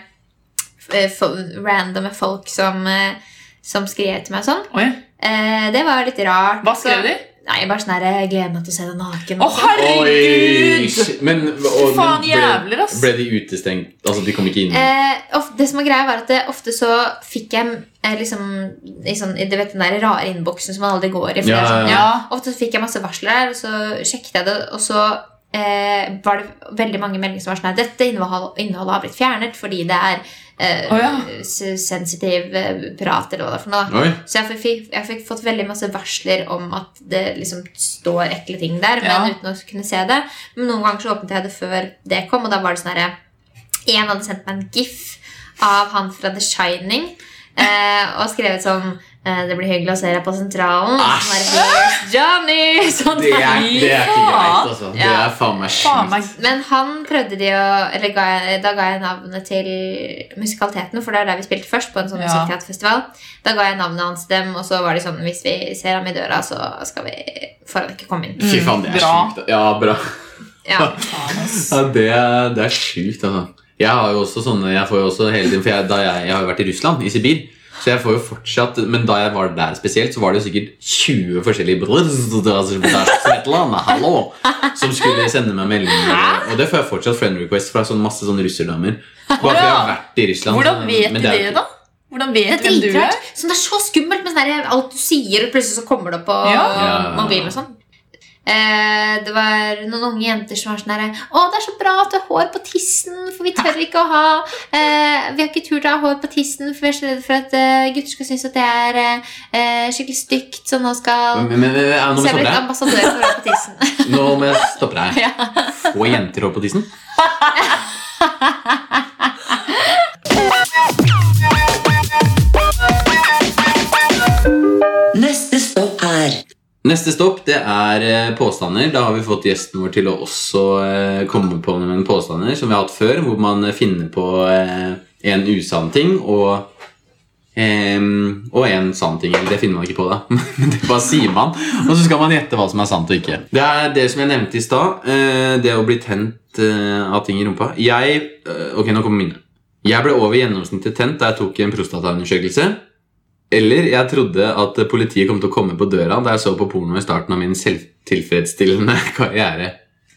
eh, fo- randomme folk som, eh, som skrev til meg sånn. Oi. Eh, Det var litt rart. Hva skrev de? Så- Nei, bare sånn der, jeg gleder meg til å se deg naken. Å, Oi! herregud! shit. Men, og, men Faen, ble, jævler, ass. ble de utestengt? Altså, de kom ikke inn? Eh, of- det som var greia var at det, ofte så fikk jeg eh, liksom, i sånn, i- Du vet den der rare innboksen som man aldri går i. for Ja, det er sånn, ja, Ja. Ofte så fikk jeg masse varsler der, og så sjekket jeg det, og så eh, var det veldig mange meldinger som var sånn her Dette innhold, innholdet har blitt fjernet fordi det er eh, Å, ja. s- sensitiv eh, prat, eller hva det er for noe. da. Oi. Så jeg fikk, jeg fikk fått veldig masse varsler om at det liksom står ekle ting der, men Ja. uten å kunne se det. Men noen ganger så åpnet jeg det før det kom, og da var det sånn herre En hadde sendt meg en gif av han fra The Shining eh, og skrevet sånn eh, Det blir hyggelig å se deg på sentralen. Og så Æsj. bare, «Here's Johnny! *laughs* Sånn. Det er, det er ikke greit, altså. Det Ja. er faen meg Faen sjukt. meg. Men han prøvde de å Eller ga jeg, da ga jeg navnet til musikaliteten, for det er der vi spilte først, på en sånn Ja. musikkteaterfestival. Da ga jeg navnet hans til dem, og så var de sånn Hvis vi ser ham i døra, så skal vi Får han ikke komme inn. Fy faen, det er Bra. sjukt. Ja, bra. Ja. Faen, ass. Ja, det, er- det er sjukt, altså. Jeg har jo også sånne Jeg får jo også hele tiden For jeg, da jeg, jeg har jo vært i Russland, i Sibir. Så jeg får jo fortsatt Men da jeg var der spesielt, så var det jo sikkert 20 forskjellige brødre- Hallo! Som skulle sende meg meldinger. Og det får jeg fortsatt friend request fra sånn masse sånne russerdamer. Bare fordi jeg har vært i Russland. Hvordan så- vet men de er jo det, ikke- da? Hvordan vet Det er hvem du er? dritrart. Sånn, det er så skummelt med sånn der, alt du sier, og plutselig så kommer det opp på Ja. eh, Ja. mobilen og sånn. Eh, det var noen unge jenter som var sånn herre Å, det er så bra at du har hår på tissen, for vi tør ikke å ha eh, Vi har ikke turt å ha hår på tissen, for vi er så redde for at eh, gutter skal synes at det er eh, eh, skikkelig stygt, så nå skal Men, men, men, ja, nå må Så jeg jeg ble stoppe ambassadør for hår på tissen. *laughs* deg. Nå må jeg stoppe deg. ja. Få jenter opp på tissen. Neste stopp er Neste stopp det er eh, påstander. Da har vi fått gjesten vår til å også eh, komme på noen påstander som vi har hatt før, hvor man eh, finner på eh, en usann ting og em, og en sann ting. Eller det finner man ikke på, da. *laughs* Men det bare sier man. Og så skal man gjette hva som er sant og ikke. Det er det som jeg nevnte i stad. eh, Det å bli tent eh, av ting i rumpa. Jeg eh, Ok, nå kommer mine. Jeg ble over gjennomsnittet tent da jeg tok en prostataundersøkelse. Eller jeg trodde at politiet kom til å komme på døra da jeg så på porno i starten av min selvtilfredsstillende *laughs* karriere.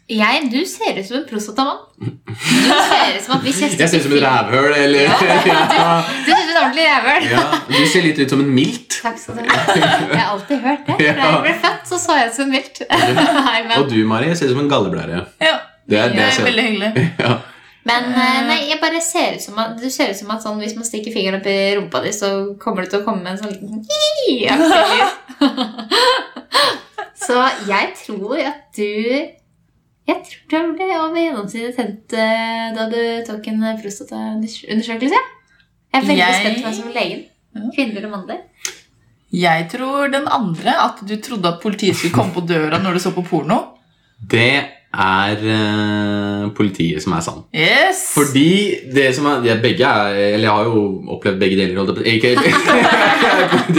Jeg, du ser ut som en prostatamann. Du ser ut som at hvis jeg Jeg ser ut som et rævhøl, eller *laughs* ja. Du ser ut som en ordentlig rævhøl. ja. Du ser litt ut som en milt. Takk skal du ha. Jeg har alltid hørt det. Fra jeg ble født, så så jeg ut som vilt. *laughs* Nei, men Og du, Mari, ser ut som en galleblære. Ja. Det er det Jeg jeg er ser. veldig hyggelig. Ja. men eh, nei, jeg bare ser ut som at, du ser ut som at sånn, hvis man stikker fingeren opp i rumpa di, så kommer det til å komme en sånn liten «Ii!» *laughs* Så jeg tror at du Jeg tror du ble over gjennomsnittet tent eh, da du tok en prostataundersøkelse. Jeg er veldig Jeg- spent på hva som er legen. Kvinner eller mannlig? Jeg tror den andre, at du trodde at politiet skulle komme på døra når du så på porno. Det er eh, politiet som er sann. Yes! Fordi det som er, jeg, begge er, eller jeg har jo opplevd begge deler. holdt jeg på- Ikke *laughs* helt.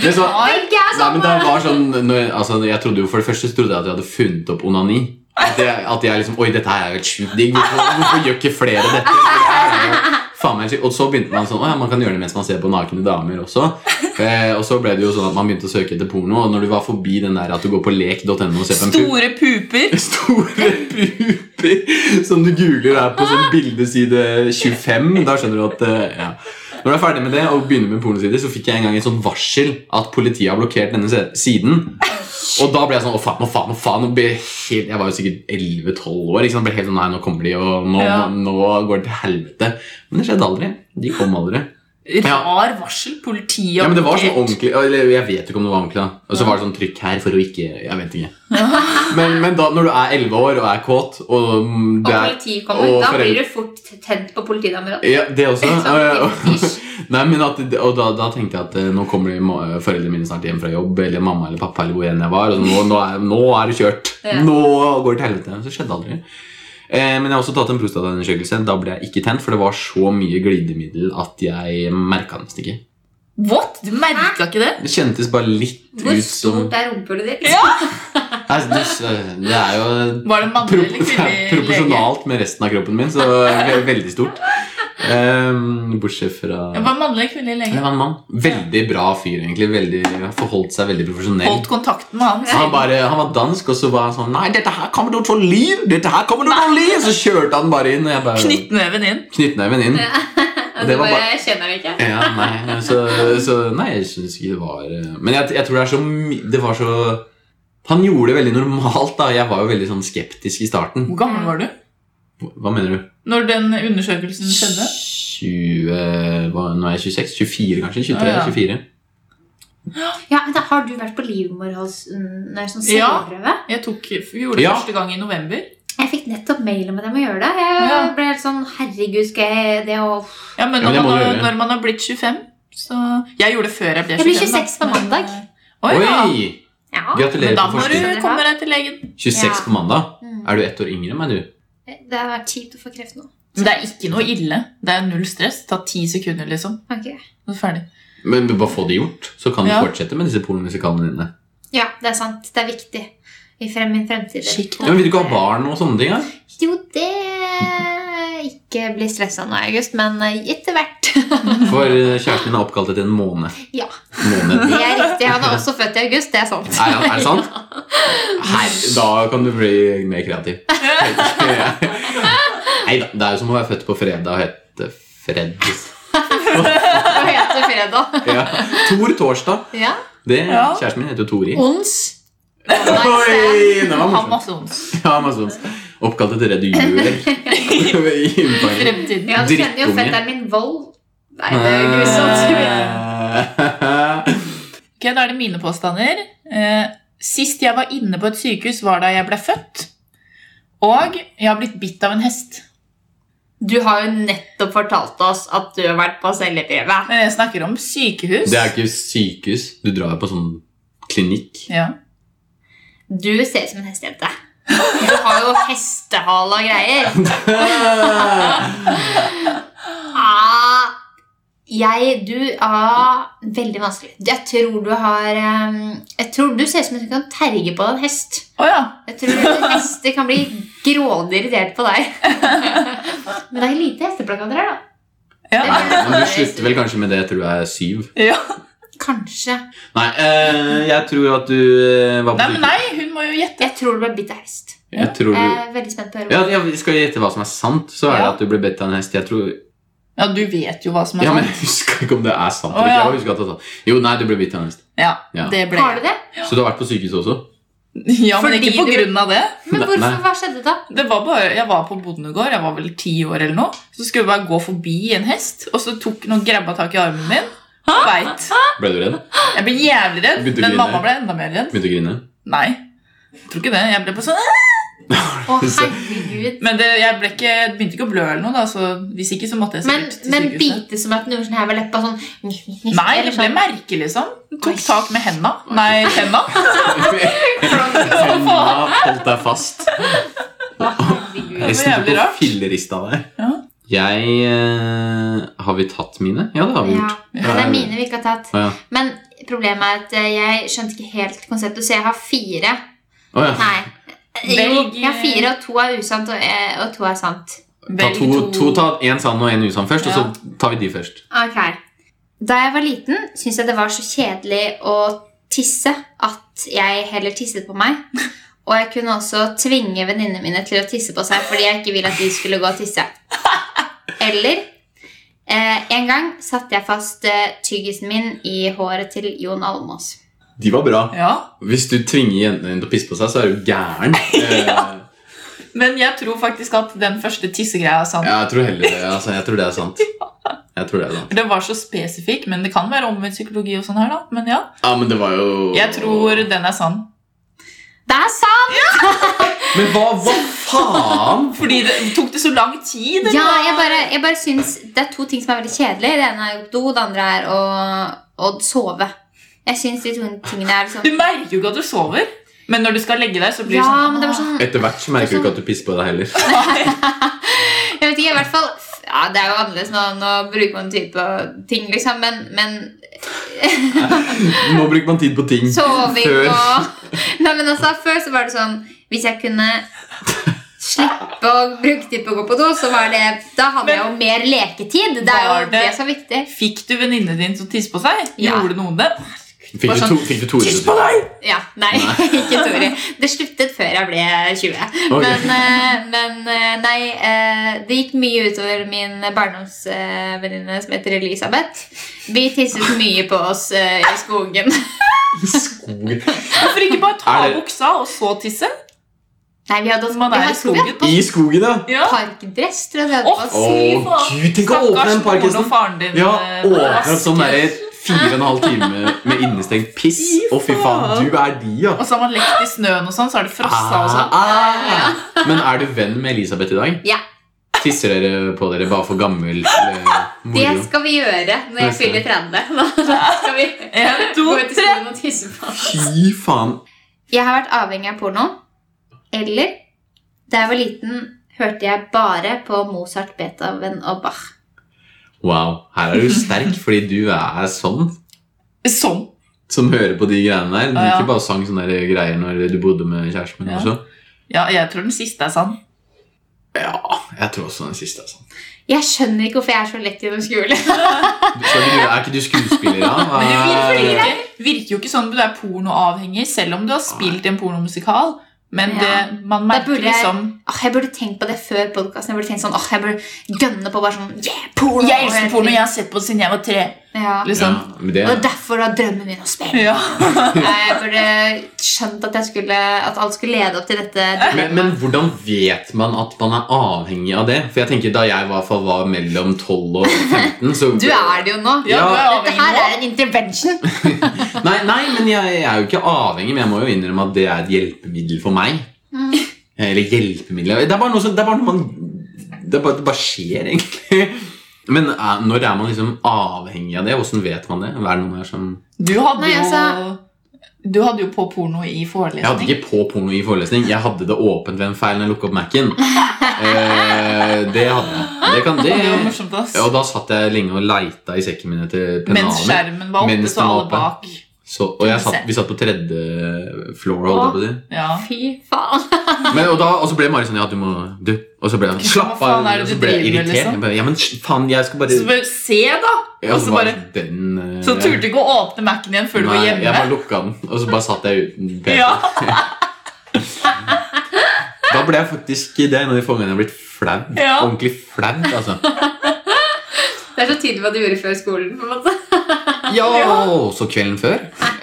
Det som- Har- Begge er Nei, men sånn! det var sånn når jeg, altså, jeg trodde jo, For det første så trodde jeg at jeg hadde funnet opp onani. At jeg, at jeg liksom Oi, dette her er jo helt sjukt digg. Hvorfor, hvorfor gjør ikke flere dette? Det er jo Faen meg sykt. Og så begynte man sånn Å ja, man kan gjøre det mens man ser på nakne damer også. Eh, og så ble det jo sånn at man begynte å søke etter porno. Og når du var forbi den der at du går på lek.no og ser på en pu- Store puper. *laughs* Store puper som du googler her på sånn bildeside 25. Da skjønner du at eh, ja. Når du er ferdig med det og begynner med pornosider, så fikk jeg en gang en sånn varsel at politiet har blokkert denne se- siden. Og da ble jeg sånn Å, faen, å, faen, å, faen. Og ble helt, jeg var jo sikkert 11-12 år. Ikke sant? Ble helt sånn Nei, nå kommer de, og nå, Ja. nå går det til helvete. Men det skjedde aldri. De kom aldri. Rar varsel. Politiet Ja, men det var sånn blokkert. ordentlig Eller jeg vet ikke om det var ordentlig da Og så var det sånn trykk her for å ikke Jeg vet ikke Men, men da, når du er 11 år og er kåt Og, mm, Og det er- politiet kommer. og Da foreldre- blir du fort tent på politidamer. også. ja, det også. Sånn, og- *laughs* Nei, men at, og da, da tenkte jeg at eh, nå kommer de må- foreldrene mine snart hjem fra jobb, eller mamma eller pappa, eller hvor enn jeg var. Og så nå, nå, er, nå er det kjørt! Ja. Nå går det til helvete. Så skjedde aldri. Eh, men jeg har også tatt en prostataundersøkelse. Da ble jeg ikke tent, for det var så mye glidemiddel at jeg merka nesten ikke. What? Du merka ikke det? Det kjentes bare litt Hvor ut som stort er rumpehullet ditt? Nei, du, s- Det er jo Var det en mannlig Pro *laughs* eller kvinnelig lege? proporsjonalt med resten av kroppen min, så ve- veldig stort. Eh, bortsett fra Ja, Var det en mannlig eller kvinnelig Det lege? var en mann. Veldig bra fyr, egentlig. Veldig, forholdt seg veldig profesjonell. Holdt kontakten med han. Han, selv. bare, han var dansk, og så var han sånn Nei, dette her kommer du til å lide! Dette her kommer du til å lide! Så kjørte han bare inn, og jeg bare Knyttneven inn. Knyttneven *laughs* inn. Og Det du var bare bare- kjenner det ikke. Ja, nei, så, så Nei, jeg syns ikke det var eh, Men jeg, jeg tror det er så my- Det var så Han gjorde det veldig normalt, da. Jeg var jo veldig sånn skeptisk i starten. Hvor gammel var du Hva mener du? når den undersøkelsen skjedde? 20, hva, nå er jeg 26, 24 kanskje, 23, Ja, ja. 24. Ja, men da Har du vært på livmorhals... mm, Nei, sånn Ja. celleprøve? Jeg tok, gjorde det Ja. første gang i november. Jeg fikk nettopp mail om at jeg må gjøre det. Jeg Ja. ble helt sånn Herregud, skal jeg det og Ja, men Ja, men det må når, du man har, gjøre. når man har blitt 25 så Jeg gjorde det før jeg ble 25. Jeg blir da, 26 på men- mandag. Oi, ja. Oi! Ja. Men Gratulerer da på må du forskudd. komme deg til legen. 26 Ja. på mandag. Mm. Er du ett år yngre enn meg, du? Det har vært kjipt å få kreft nå. Men det er ikke noe ille. Det er null stress. Ta ti sekunder, liksom. Ok. Så er det ferdig. Men bare få det gjort, så kan du Ja. fortsette med disse pornomusikalene dine. Ja, det er sant. Det er viktig. I frem min fremtid. Skikk Ja, men Vil du ikke ha barn og sånne ting? da? Jo, det Ikke bli stressa nå i august, men eh, etter hvert. For eh, kjæresten min er oppkalt etter en måned. *laughs* Ja. Måned. Det er riktig. Han er også født i august. Det er sant. *laughs* *laughs* Er, er det sant? Her, da kan du bli mer kreativ. *laughs* Nei da, det er jo som å være født på fredag og hete Fred. Hva heter fredag? Ja. Tor Torsdag. Ja. Det, Ja. Kjæresten min heter jo Tori. Ons. Nei, Oi, det var morsomt. Amazons. Ja, Amazons. Oppkalt etter reduler. *laughs* Fremtiden. Ja, du kjenner jo Drittunge. fetteren min vold. Nei, det er grusomt. Ok, Da er det mine påstander. Eh, sist jeg var inne på et sykehus, var da jeg ble født. Og jeg har blitt bitt av en hest. *laughs* Du har jo nettopp fortalt oss at du har vært på celleprøve. Men jeg snakker om *laughs* sykehus. Det er ikke sykehus. Du drar jo på sånn *laughs* klinikk. ja. Du ser ut som en hestejente. Du har jo hestehale og greier. Ah, jeg Du ah, Veldig vanskelig. Jeg tror du har em, Jeg tror du ser ut som en som kan terge på en hest. Å ja. Jeg tror hester kan bli grådig irritert på deg. *laughs* Men det er lite hesteplakater her, da. ja. Men du slutter vel kanskje med det etter du er syv? *laughs* ja. Kanskje. Nei, eh, jeg tror at du eh, var på Nei, men nei, hun må jo gjette. Jeg tror du ble bitt av hest. Jeg tror Jeg du... er veldig spent på å høre. Ja, ja, vi skal gjette hva som er sant, så er det Ja. at du ble bedt av en hest. Jeg tror... Ja, du vet jo hva som er sånn. Ja, men *laughs* sant. jeg husker ikke om det er sant. Å, eller ikke. ja. Jeg husker at det er sant. Jo, nei, du ble bitt av en hest. Ja, Ja. det ble Har du det? Så du har vært på sykehus også? Ja, men Fordi ikke på du- grunn av det. Men Nei, hvorfor, nei. hva skjedde *laughs* da? det var bare, jeg var på Bodnegård, jeg var vel ti år eller noe. Så skulle jeg bare gå forbi en hest, og så tok noen grabba tak i armen min. Og beit. Ble du redd? Jeg ble jævlig redd, Begynte å men grine. mamma ble enda mer redd. Begynte å grine? Nei, jeg tror ikke det. Jeg ble på sånn "Æ!" Å, herregud. Men det, jeg ble ikke, jeg begynte ikke å blø eller noe, da, så hvis ikke så måtte jeg Men, sikkert til men sykehuset. bite som at noen sånn her ved leppa sånn Nei, det ble merke, liksom. Tok tak med henda. Nei, tenna. Henda holdt deg fast. merke. var Hesten jævlig tok og rart. fillerista deg. Ja. Jeg eh, Har vi tatt mine? Ja, det har vi Ja. gjort. Ja, det er mine vi ikke har tatt. Å ja. Men problemet er at eh, jeg skjønte ikke helt konseptet, så jeg har fire. Å, ja. Nei. Jo, Velg, jeg har fire, og to er usant, og, eh, og to er sant. Ta Velg to, to ta én sann og én usann først, og så tar vi de først. Ok. Da jeg var liten, syntes jeg det var så kjedelig å tisse at jeg heller tisset på meg. Og jeg kunne også tvinge venninnene mine til å tisse på seg fordi jeg ikke ville at de skulle gå og tisse. Eller eh, en gang satte jeg fast eh, tyggisen min i håret til Jon Almås. De var bra. Ja. Hvis du tvinger jentene dine til å pisse på seg, så er du *laughs* gæren. Eh, Men jeg tror faktisk at den første tissegreia er sann. Ja, jeg tror heller det. Altså, jeg tror det er sant. Jeg tror det er sant. For Det var så spesifikk, men det kan være omvendt psykologi og sånn her, da. Men ja, Ja, men det var jo jeg tror den er sann. Det er sant! Men hva, hva faen? Fordi det tok det så lang tid, eller? Ja, jeg bare, jeg bare syns Det er to ting som er veldig kjedelig. Det ene er jo do, det andre er å, å sove. Jeg syns de to tingene er liksom Du merker jo ikke at du sover, men når du skal legge deg, så blir det Ja, sånn men det var sånn Etter hvert så merker du ikke at du pisser på deg heller. *laughs* Jeg vet ikke, i hvert fall f- ja, Det er jo annerledes nå, nå bruker man tid på ting, liksom, men, men Nå bruker man tid på ting. soving Før. og *laughs* Nei, men altså, før så var det sånn Hvis jeg kunne slippe å bruke tid på å gå på do, så var det Da hadde jeg jo mer leketid. Det er Var jo det- det som er viktig. Fikk du venninnen din til å tisse på seg? Ja. Gjorde noen det? Fikk du, to, fikk du Tore sånn, Tiss til på deg! Ja, nei, *laughs* ikke Tori. Det sluttet før jeg ble 20. Ok. Men, eh, men eh, nei, eh, det gikk mye utover min barndomsvenninne som heter Elisabeth. Vi tisset mye på oss eh, i skogen. skogen? Hvorfor ikke bare ta Er det- av buksa, og så tisse? Nei, vi hadde, Man vi er i hadde, vi hadde skogen. på I skogen, ja. Ja. parkdress, tror jeg vi hadde Å, på oss. Åh, Gud, tenk å åpne den moren og parkhesten. faren din. Ja, eh, åpnet sånn vasker. derre fire og en halv time med innestengt piss. Å, fy faen, du er de, ja. Og så har man lekt i snøen, og sånn, så er det frossa og Ah, sånn. ah. Men er du venn med Elisabeth i dag? Ja. Tisser dere på dere bare for gammel eh, Det moro? skal vi gjøre når jeg Neste. fyller *laughs* 30. Da skal vi En, to, gå ut i tre. skogen og tisse på oss. Fy faen. Jeg har vært avhengig av porno. Eller da jeg var liten, hørte jeg bare på Mozart, Beethoven og Bach. Wow, her er du sterk fordi du er sånn Sånn. som hører på de greiene der. Du Ja, ja. ikke bare sang sånne der greier når du bodde med kjæresten din Ja. også. Ja, jeg tror den siste er sann. Ja, jeg tror også den siste er sånn. Jeg skjønner ikke hvorfor jeg er så lett gjennom *laughs* skole. Du, skal ikke du, er ikke du skuespiller, da? Hva- Men det Ah. virker, jo ikke, virker jo ikke sånn at du er pornoavhengig, selv om du har Ah. spilt en pornomusikal. Men Ja. det, man Da merker burde jeg- liksom Åh, Ah, jeg burde tenkt på det før ah, podkasten. Jeg burde tenkt sånn, åh, jeg burde gønne på bare sånn yeah, porno. Jeg elsker porno, jeg har sett på det siden jeg var tre. Ja. Liksom. Ja, men det, Og derfor var drømmen min å spille. Ja. Jeg burde skjønt at, jeg skulle, at alt skulle lede opp til dette. men, men hvordan vet man at man er avhengig av det? For jeg tenker Da jeg i hvert fall var mellom 12 og 15 så Du er det jo nå. Ja, du er avhengig Dette her nå. er en intervention. Nei, nei, men jeg, jeg er jo ikke avhengig, men jeg må jo innrømme at det er et hjelpemiddel for meg. Mm. Eh, Eller hjelpemiddel Det er bare noe, som, det er bare noe man det, er bare, det bare skjer, egentlig. Men er, når er man liksom avhengig av det? Hvordan vet man det? Hva er det noen her som Du hadde Nei, jo altså- Du hadde jo på porno i Jeg hadde forelesning. ikke på porno i forelesning. Jeg hadde det åpent ved en feil når jeg lukket opp Mac-en. Eh, det hadde jeg. Det kan, Det var det, morsomt, ass. og da satt jeg lenge og leita i sekken min etter Mens pennalen. skjermen var oppe, Mens så den var alle oppe. bak. Så, og jeg satt, vi satt på tredje floor. holdt jeg på å si. Ja. Fy faen. Men, og, da, og så ble Mari sånn Ja, du må du. Og så ble jeg sånn, Slapp Hva faen av. er det Og så du ble jeg driver med, irritert. liksom? Jeg bare, ja, men sj- faen, jeg skal bare Så bare se, da! Ja, Og så så bare bare den eh, Så turte du ikke å åpne Mac-en igjen før du var Nei, Jeg bare hjemme. lukka den, og så bare satt jeg *laughs* uten PC. Ja. *laughs* Da ble jeg faktisk Det er en av de få gangene jeg har blitt flau. Ja. Ordentlig flau, *laughs* altså. Det er så tydelig hva du gjorde før skolen. på en måte. Ja, også kvelden før. *laughs*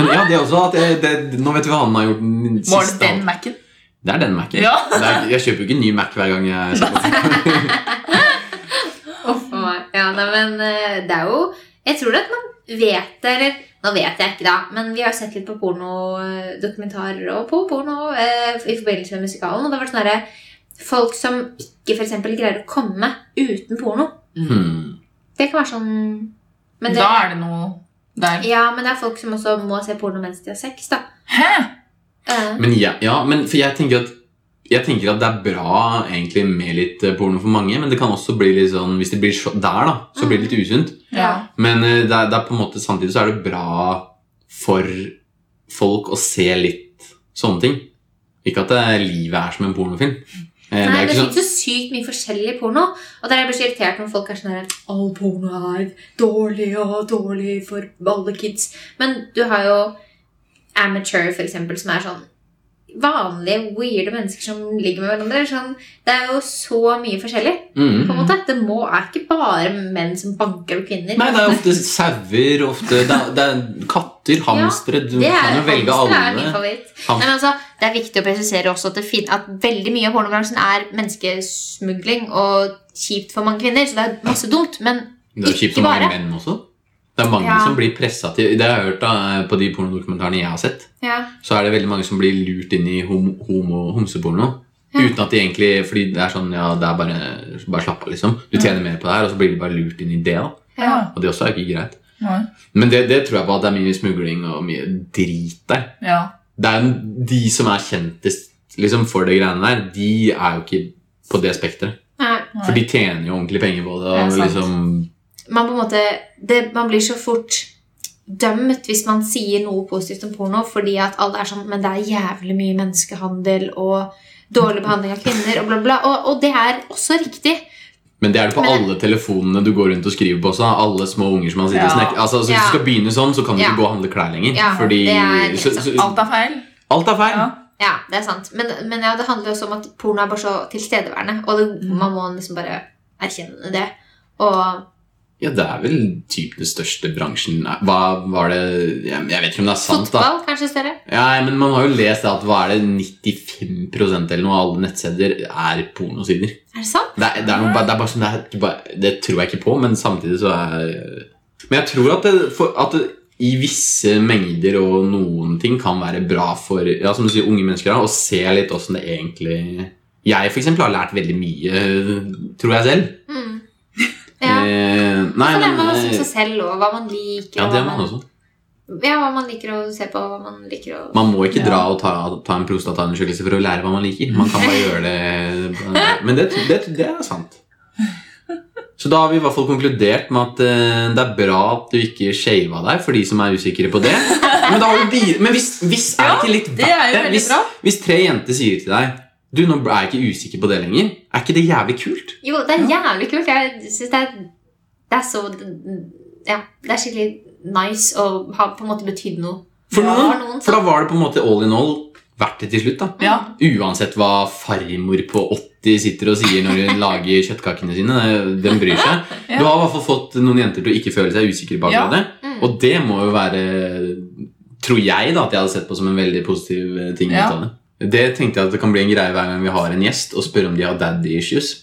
Men ja, det er også at jeg, det, Nå vet vi hva han har gjort den siste Var det den Mac-en? Det er den Mac-en. Ja. Det er- Jeg kjøper jo ikke ny Mac hver gang *laughs* jeg skal på Uff a meg. Ja, nei, men eh, det er jo Jeg tror at man vet det, eller Nå vet jeg ikke, da, men vi har jo sett litt på pornodokumentarer og på porno eh, i forbindelse med musikalen, og det har vært sånn herre Folk som ikke for eksempel greier å komme uten porno. hmm. Det kan være sånn men det, Da er det noe der. Ja, men det er folk som også må se porno mens de har sex, da. Hæ? Eh, Men ja, ja, men for jeg tenker at jeg tenker at det er bra egentlig med litt eh, porno for mange, men det kan også bli litt sånn Hvis det blir så, der, da, så blir det Mm. litt usunt. Ja. Men eh, det er, det er på en måte samtidig så er det bra for folk å se litt sånne ting. Ikke at det, livet er som en pornofilm. Eh, det Nei, er det ikke sånn finnes jo sykt mye forskjellig porno. Og der jeg blir så irritert når folk er sånn her All porno er dårlig og dårlig for alle kids. Men du har jo Amateur, for eksempel, som er sånn vanlige, weirde mennesker som ligger med hverandre. Sånn, det er jo så mye forskjellig. mm. på en måte. Det må, er ikke bare menn som banker opp kvinner. Nei, det er ofte sauer, ofte det er, det er katter, hamstere Du Det er, kan jo velge hamster er min alle. favoritt. Ham- Nei, men altså, det er viktig å presisere også at, det fin at veldig mye av pornobransjen er menneskesmugling og kjipt for mange kvinner, så det er masse dumt, men Det er jo kjipt Ikke for mange bare. menn også. Det er mange Ja. som blir pressa til Det har jeg hørt da, på de pornodokumentarene jeg har sett. ja. så er det veldig mange som blir lurt inn i hom homo homseporno. Ja. Uten at de egentlig Fordi det er sånn, ja, det er bare, bare slapp av, liksom. Du tjener mer på det her, og så blir de bare lurt inn i det. da. Ja. Og det også er ikke greit. Nei. Men det, det tror jeg på at det er mye smugling og mye drit der. Ja. Det er jo de som er kjentest liksom, for det greiene der, de er jo ikke på det spekteret. Nei, Nei. For de tjener jo ordentlig penger på det. Og Det er sant. liksom Man på en måte det, Man blir så fort dømt hvis man sier noe positivt om porno, fordi at alle er sånn Men det er jævlig mye menneskehandel og dårlig behandling av kvinner og bla, bla. Og, og det er også riktig. Men det er det på Men det- alle telefonene du går rundt og skriver på også. Alle små unger som har sittet og Ja. snekket. Altså, så hvis Ja. du skal begynne sånn, så kan du Ja. ikke gå og handle klær lenger. Ja, fordi det er så, helt så, Alt er feil. alt er feil. Ja. Ja, det er sant. Men, men ja, det handler jo også om at porno er bare så tilstedeværende. Og det, Mm. man må liksom bare erkjenne det. Og Ja, det er vel typ den største bransjen Nei, Hva var det Jeg jeg vet ikke om det er sant, da. fotball, kanskje større. Ja, men Man har jo lest at hva er det 95 eller noe av alle nettsider er pornosider. Er det sant? Det er, det er, noe, ba- det er bare sånn det, er, ikke bare- det tror jeg ikke på, men samtidig så er Men jeg tror at det, for, at det i visse mengder og noen ting kan være bra for ja, som du sier, unge mennesker da, å se litt åssen det egentlig Jeg for eksempel har lært veldig mye, tror jeg selv. *laughs* Mm. Ja. Eh, nei, Så lærer men man også om eh, seg selv og hva man liker. Ja, og det hva er man også. Ja, hva man liker å se på, hva man liker å Man må ikke Ja. dra og ta, ta en prostataundersøkelse for å lære hva man liker. Man kan bare gjøre det eh, Men det, det, det er sant. Så da har vi i hvert fall konkludert med at eh, det er bra at du ikke shava deg, for de som er usikre på det. Men, da har du de, men hvis, hvis er det ikke litt det er verdt jo det? veldig Hvis, bra. hvis tre jenter sier til deg Du, nå er jeg ikke usikker på det lenger. Er ikke det jævlig kult? Jo, det er jævlig kult. Jeg synes det er Det er så Ja, det er skikkelig nice å ha på en måte betydd noe For Ja, noen? noen For da var det på en måte all in all verdt det til slutt. da Ja. Uansett hva farmor på 80 sitter og sier når hun lager kjøttkakene sine. det- De bryr seg. *laughs* Ja. Du har i hvert fall fått noen jenter til å ikke føle seg usikre bak Ja. det. Mm. Og det må jo være Tror jeg da at jeg hadde sett på som en veldig positiv eh, ting. Ja. Ut av det. det tenkte jeg at det kan bli en greie hver gang vi har en gjest, og spørre om de har daddy *laughs* issues.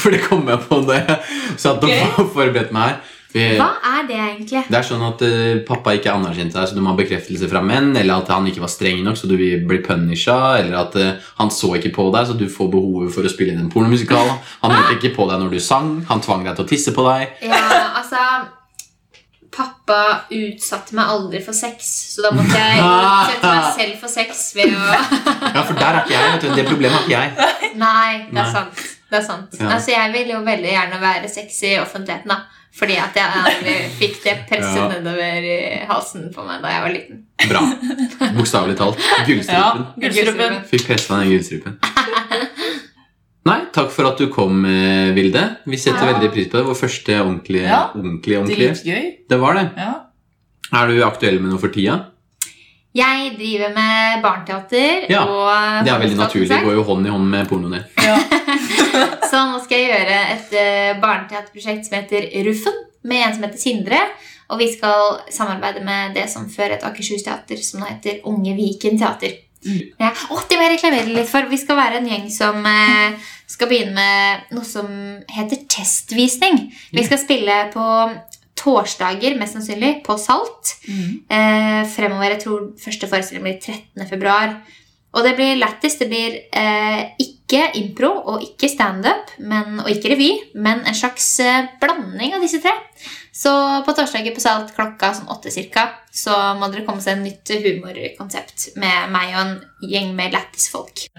For det kom jeg på da jeg satt og *laughs* forberedte meg her. Vi- Hva er det egentlig? det er sånn at eh, pappa ikke anerkjente deg, så du må ha bekreftelse fra menn, eller at han ikke var streng nok, så du vil bli punisha, eller at eh, han så ikke på deg, så du får behovet for å spille inn en pornomusikal. Han hørte ikke på deg når du sang, han tvang deg til å tisse på deg. Ja, altså Pappa utsatte meg aldri for sex, så da måtte jeg utsette *laughs* meg selv for sex ved å Ja, for der er ikke jeg, vet du. Det problemet har ikke jeg. Nei, det Nei. er sant. Det er sant. Ja. Altså, jeg vil jo veldig gjerne være sexy i offentligheten, da. Fordi at jeg aldri fikk det presset Ja. nedover i halsen på meg da jeg var liten. Bra. Bokstavelig talt. ja. Gullstrupen. Gullstrupen. Fikk pressa den gullstrupen. Nei, takk for at du kom, eh, Vilde. Vi setter Ja. veldig pris på det. Vår første ordentlige, Ja. ordentlige, ordentlige. Dritgøy. Det var det. Ja. Er du aktuell med noe for tida? Jeg driver med barneteater Ja, og Det er veldig naturlig. Det Folkeskapskonsert. går jo hånd i hånd med pornoen din. Ja. Så nå skal jeg gjøre et eh, barneteaterprosjekt som heter Ruffen, med en som heter Sindre. Og vi skal samarbeide med det som før het Akershus Teater, som nå heter Unge Viken Teater. Ja. Å, det må jeg reklamere litt for! Vi skal være en gjeng som eh, skal begynne med noe som heter testvisning. Vi skal spille på torsdager, mest sannsynlig, på Salt. Mm. Eh, fremover, jeg tror første forestilling blir 13. februar. Og det blir lættis. Det blir eh, ikke impro og ikke standup men- og ikke revy, men en slags eh, blanding av disse tre. Så på torsdager på Salt klokka sånn åtte cirka, så må dere komme seg en nytt humorkonsept med meg og en gjeng med lættis folk.